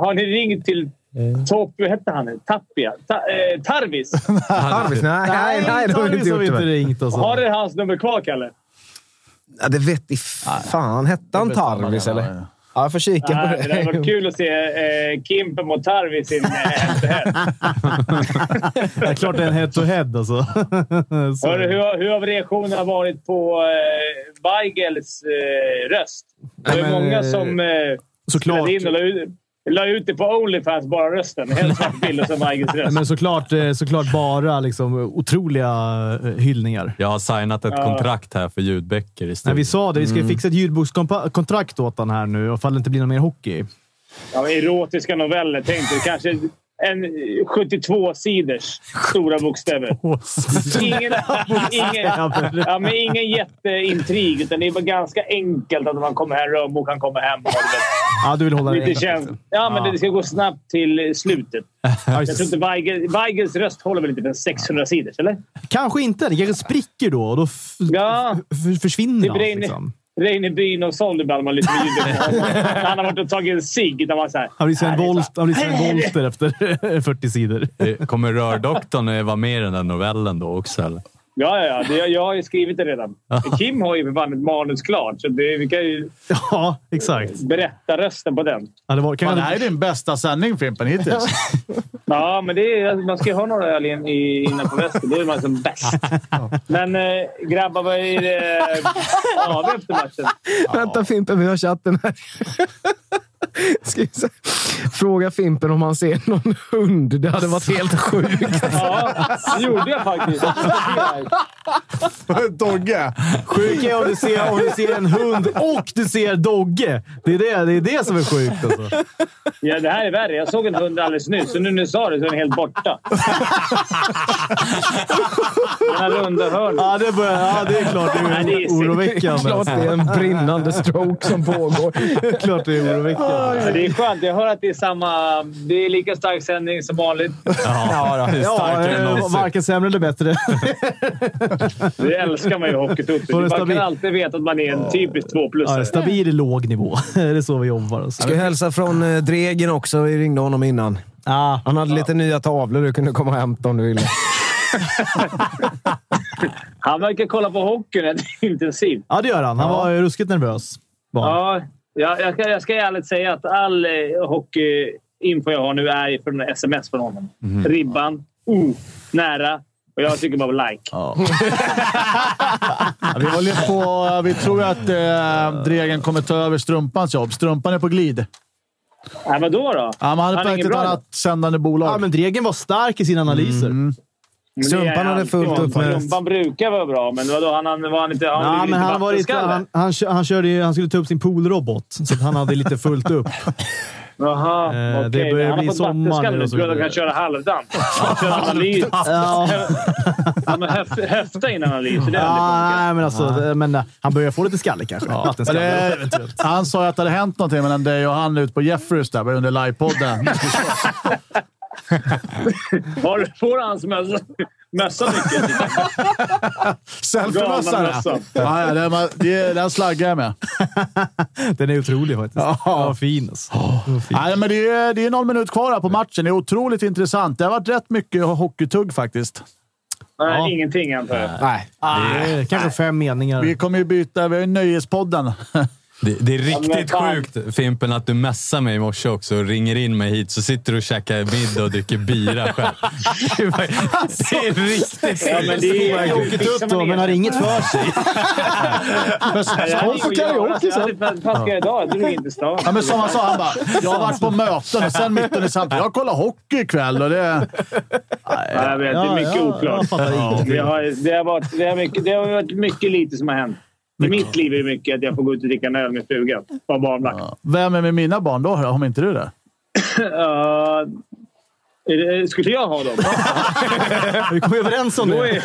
har ni ringt till Mm. Top... Hur hette han? Tapia? Ta, eh, Tarvis? Harvis, nej, nej, nej, det har vi Tarvis inte har gjort. vi inte Det, ringt. Och Har så. du hans nummer kvar, Kalle? ja, det vet i fan. Hette han Det vet alla Tarvis, redan, eller? ja. Ja, jag får kika på Nej, det hade varit det. kul att se eh, Kimpen mot Tarvis i en eh, head-to-head. Det är klart det är en head-to-head alltså. Så- Hörru, hur, har- hur har reaktionerna varit på eh, Weigels eh, röst? Det var ju Nej, men, många eh, som eh, såklart. spelade in och la ut, la ut det på Onlyfans, bara rösten. Helt svart bild och sen Weigels röst. Men såklart, eh, såklart bara liksom otroliga eh, hyllningar. Jag har signat ett kontrakt här för Mm. ljudböcker i Nej, studion. vi sa det. Vi ska ju fixa ett ljudbokskontrakt åt han här nu, ifall det inte blir någon mer hockey. Ja, erotiska noveller, tänk dig. Kanske en 72-siders stora bokstäver. Ingen, ingen, ja, men ingen jätteintrig, utan det är bara ganska enkelt att man kommer hem, rörmok, han kommer hem. Ja, du vill hålla Lite det känt. Ja, men det ska gå snabbt till slutet. Ja, Jag tror inte Weigel, Weigels röst håller väl inte för en 600 sidor, eller? Kanske inte. Det kanske spricker då och då f- Ja. f- försvinner Det allt. brinner. Liksom. Reinebyn och Solleball man lyssnar på ljudet. Han har varit och tagit en cigg. utan man så här, Han blir som en "Nej, det är Volt- han blir som en Volter efter 40 sidor. Eh, Kommer rördoktorn eh, vara med i den där novellen då också? Eller? Ja, ja, ja. Det, jag har ju skrivit det redan. Kim har ju för fan ett manus klart, så det, vi kan ju Ja, exakt. berätta rösten på den. Ja, det var, kan Fan, det jag, här är din bästa sändning, Fimpen, hittills. Ja, men det är, man ska ju ha några öl in, i, innan på västen. Då är man som bäst. Men eh, grabbar, vad är det av efter matchen? Vänta Fimpen, vi har chatten här. Ska vi se. Fråga Fimpen om han ser någon hund. Det hade varit helt sjukt. Ja, det gjorde jag faktiskt. Dogge! sjuk är om du, ser, om du ser en hund och du ser Dogge. Det är det, det, är det som är sjukt. Alltså. Ja, det här är värre. Jag såg en hund alldeles nyss, så nu när du sa det så är den helt borta. Den här runda hörnet. Ja, det, börjar, ja, det är klart det Nej, det är är sick. oroväckande. Klart det Alltså. är en brinnande stroke som pågår. Klart det är oroväckande. Ja, Det är skönt. Jag hör att det är samma... Det är lika stark sändning som vanligt. Ja, det är Ja, starkare än eh, någonsin. varken sämre eller bättre. Det älskar man ju Var det Hockeytuppen. Man stabil? kan alltid veta att man är en typisk Ja, en tvåplussare. stabil låg nivå. Det är så vi jobbar. Alltså. Ska jag hälsa från eh, Dregen också. Vi ringde honom innan. Ah, Han hade lite nya tavlor. Du kunde komma och hämta om du ville. Han verkar kolla på hockeyn rätt intensivt. ja, det gör han. Han var ju ruskigt nervös. Var han. Ja, jag, jag, ska, jag ska ärligt säga att all eh, hockeyinfo jag har nu är ju från sms från honom. Mhm. Ribban, oh, nära och jag tycker bara like. Ja, Vi håller ju på... Vi tror ju att eh, Dregen kommer ta över Strumpans jobb. Strumpan är på glid. Nej, vadå då? Ja, men han är på är väg ingen till ett bra. annat sändande bolag. Ja, men Dregen var stark i sina analyser. Mm. Men det är Sumpan hade alltid fullt honom. upp med- Sumpan brukar vara bra, men vadå? Han, han, var han inte... Han, Ja, blev men lite han, var lite, vattenskalle. han, han, kö- han, körde ju, han skulle ta upp sin poolrobot, så att han hade lite fullt upp. Jaha, Eh, okej. det börjar Men han bli har fått sommar vattenskalle nu nu. och så Tror jag att han vidare. kan köra halvdant? Han kör analys. ja, Han har höf- höfta in analys. Det är ja, aldrig funkat. nej, men alltså, det- men, eh, han börjar få lite skalle kanske. Men Vattenskalle. det, han sa ju att det hade hänt någonting mellan dig och han ute på Jeffreys där under livepodden. Har du på dig hans mössa? Mössa mycket? Selfiemössan! Galna ja. mössan. Ja, ja, den, var- det- den slaggar jag med. Den är otrolig faktiskt. Ja. Vad fin alltså. Vad fin. Nej, men det, är, det är någon minut kvar här på matchen. Det är otroligt intressant. Det har varit rätt mycket hockeytugg faktiskt. Nej, Ja. Ah, ingenting antar jag. Nej. Det är kanske fem Vi meningar. kommer ju byta. Vi har ju Nöjespodden. Det, det är men riktigt fan. sjukt, Fimpen, att du messar mig i morse också och ringer in mig hit. Så sitter du och käkar middag och dricker bira själv. Det är bara- det är riktigt Ja, men det är Jag har åkt Alltså! upp då, men har inget för sig. Kom på karaoke sen. Jag hade fast jag idag. Jag drog in till stan. Ja, men som han sa, han bara “Jag har varit på möten och sen mitt under samtidigt. Jag kollar hockey ikväll och det...” Ja, jag vet, det är mycket ja, oklart. jag fattar Det har, det, har varit, det, har mycket, det har varit mycket lite som har hänt. I mitt liv är det mycket att jag får gå ut och dricka en öl med frugan. Vara barnvakt. Vem är med mina barn då, om inte du det? Eh, är det- skulle jag ha dem? Vi kom överens om Då det. är,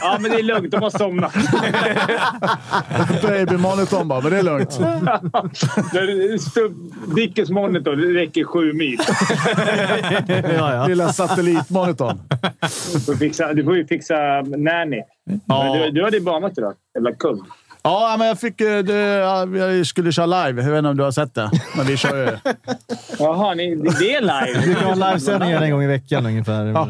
ja, men det är lugnt. De har somnat. Babymonitorn bara, men det är lugnt. Den stubb- Dickens monitor det räcker sju mil. Ja, ja. Lilla satellitmonitorn. Du får, fixa, du får ju fixa nanny. Men Du, du hade ju banat idag. Jävla kung. Ja, men jag fick... eh, Det, ja, jag skulle köra live. Jag vet inte om du har sett det, men vi kör ju. Jaha, ni, det är live. Vi kan ha livesändningar en gång i veckan ungefär. Ja.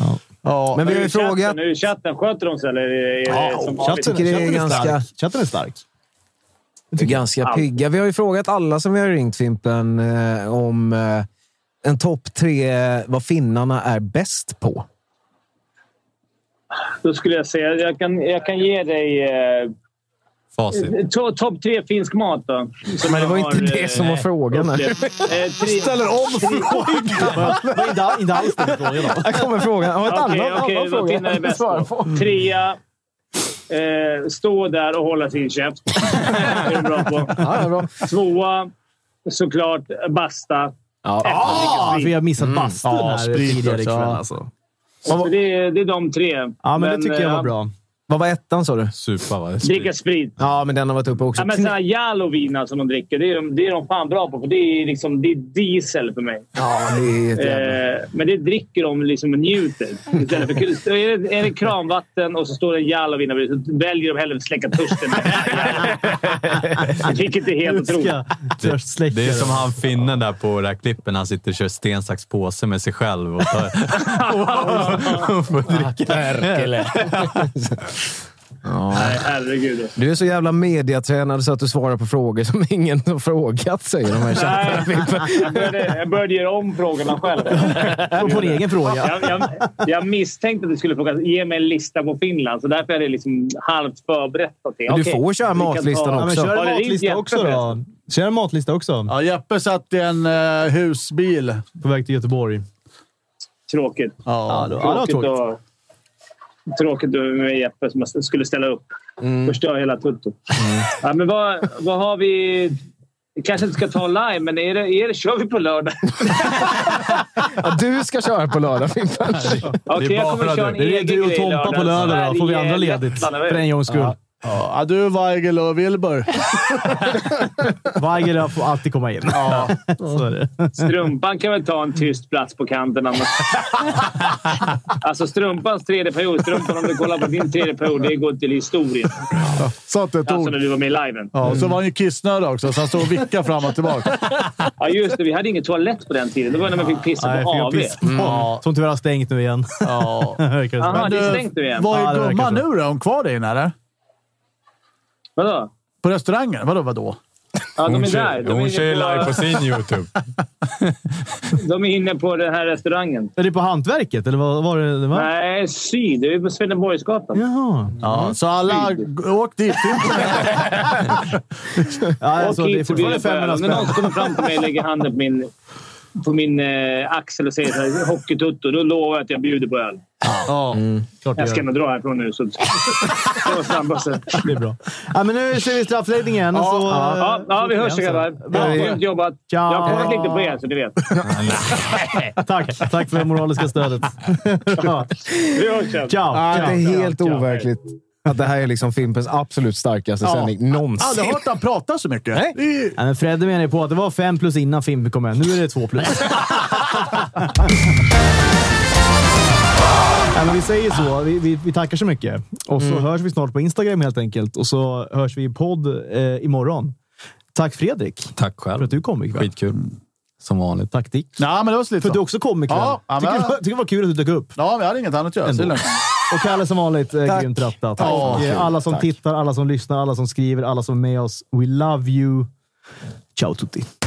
Ja. Ja, Men vi Hur har ju är frågat... chatten? Hur är chatten? Sköter de sig eller är det som vanligt? tycker det är ganska- stark. chatten oh, är stark. Ganska pigga. Vi har ju frågat alla som vi har ringt, Fimpen, eh, om eh, en topp tre, eh, vad finnarna är bäst på. Då skulle jag säga... Jag kan, jag kan ge dig... Eh, Facit. to, Topp tre finsk mat då. Som Men det var jag inte har, eh, det som var frågan. upplevt. här. Eh, tre- Ställer om frågan! Inte, all- inte alls den frågan. då. Här kommer frågan. Ja, ett Okej, annan, okej, annan vad fråga. finnar är bäst på? Trea. Eh, stå där och hålla sin käft. det är bra på. Ja, bra. Tvåa, såklart basta. Ja, Ah, för vi har missat bastun Ja, här sprit tidigare också, ikväll. ja. Alltså. Så Det, är- det är de tre. Ja, men, det tycker jag var eh, bra. Vad var ettan, sa du? Supa, va? Dricka sprit. Ja, men den har varit uppe också. Ja, men såna här jalovina som de dricker, det är de, det är de fan bra på. För det, är liksom, det är diesel för mig. Ja, det är ett jävla- Eh, men det dricker de liksom och njuter. Istället för, så är, det, är det kranvatten och så står det en jalovina bredvid så väljer de hellre att släcka törsten. Vilket är helt otroligt. Ska törstsläckare. Det är som han finnen där på det här klippen. Han sitter och kör sten, sax, påse med sig själv. Och tar, Eh. och får dricka. Nej, herregud. Du är så jävla mediatränad så att du svarar på frågor som ingen har frågat, säger de här Nej, chattarna. jag började, jag började göra om frågorna själv. Kom på din egen fråga. Jag, jag, jag misstänkte att du skulle fråga ge mig en lista på Finland, så därför är det liksom halvt förberett. någonting. Men du Okej, får köra vi kan matlistan ta- Ja, men också. kör Var en det din matlista Jeppe också då. Kör en matlista också. Ja, Jeppe satt i en eh, husbil. På väg till Göteborg. Tråkigt. Ja, det var Tråkigt, tråkigt. och, tråkigt och med Jeppe som skulle ställa upp. Mm. Förstör hela tutto. Ja, men vad, vad har vi... Vi kanske inte ska ta live, men är det, är det, kör vi på lördag? Ja, du ska köra på lördag, Fimpen. Okej, jag kommer bara köra en du. Det är egen du och grej Tompa på lördag då. Får vi Sverige, andra ledigt. Lettland, För en gångs skull. Ja, du, Weigel och Wilbur. Weiger får alltid komma in. Ja. Så är det. Strumpan kan väl ta en tyst plats på kanten. annars. alltså strumpans tredje period. Strumpan, om du kollar på din tredje period, det går till historien. Sa inte ett Alltså ord. när du var med i liven. Ja, och Mm. så var han ju kissnödig också, så han stod och vickade fram och tillbaka. Ja, just det. Vi hade ingen toalett på den tiden. Det var när man fick pissa Nej, på Mm. för AV. jag pissar på. Som tyvärr har stängt nu igen. Ja. Verkar det som. Jaha, det är du, stängt nu igen. Var Ja, det är verkar gumman nu så. då? Är hon kvar där inne eller? Vadå? På restaurangen? Vadå, vadå? Ja, de Hon är kör, där. De är, hon kör ju inne live på, på sin YouTube. de är inne på den här restaurangen. Är det på Hantverket, eller vad var det? det var? Nej, syd. Det är på Swedenborgsgatan. Jaha. Ja, så alla g- åk dit. Ja, alltså, och det är hit till fortfarande bilen på 500 ölen. Om någon spänn. kommer fram till mig och lägger handen på min, på min eh, axel och säger så här, hockeytutto, då lovar jag att jag bjuder på öl. Ja, Mm. Mm. klart det Jag ska gör. nog dra härifrån nu. Så... Det var snabbaste. Det är bra. Ja, men nu ser vi straffläggningen. Ja, så, eh, Ja, ja, vi hörs grabbar. Bra skönt jobbat. Jag Ciao. har kollat lite på er, så ni vet. Tack. Tack för det moraliska stödet. Ja. Vi hörs sen. Ciao. Det är Ciao. helt overkligt att det här är liksom Fimpens absolut starkaste sändning någonsin. Aldrig hört han prata så mycket. Nej. Det är- Ja, men Fredde menar ju på att det var fem plus innan Fimpen kom med. Nu är det två plus. ja, men vi säger så. Vi, vi, vi tackar så mycket. Och så Mm. hörs vi snart på Instagram helt enkelt. Och så hörs vi i podd eh, imorgon. Tack Fredrik Tack för själv. att du kom ikväll. Skitkul. Som vanligt. Tack Dick. Nej, men det var För slut. att du då. också kom ikväll. Ja, ja, tycker, men- det var- tycker det var kul att du dök upp. Ja, vi hade inget annat att göra. Så det är lugnt. Och Kalle som vanligt, eh, Tack. grymt rattat. Tack. Och, eh, alla som tittar, alla som lyssnar, alla som skriver, alla som är med oss. We love you. Ciao tutti.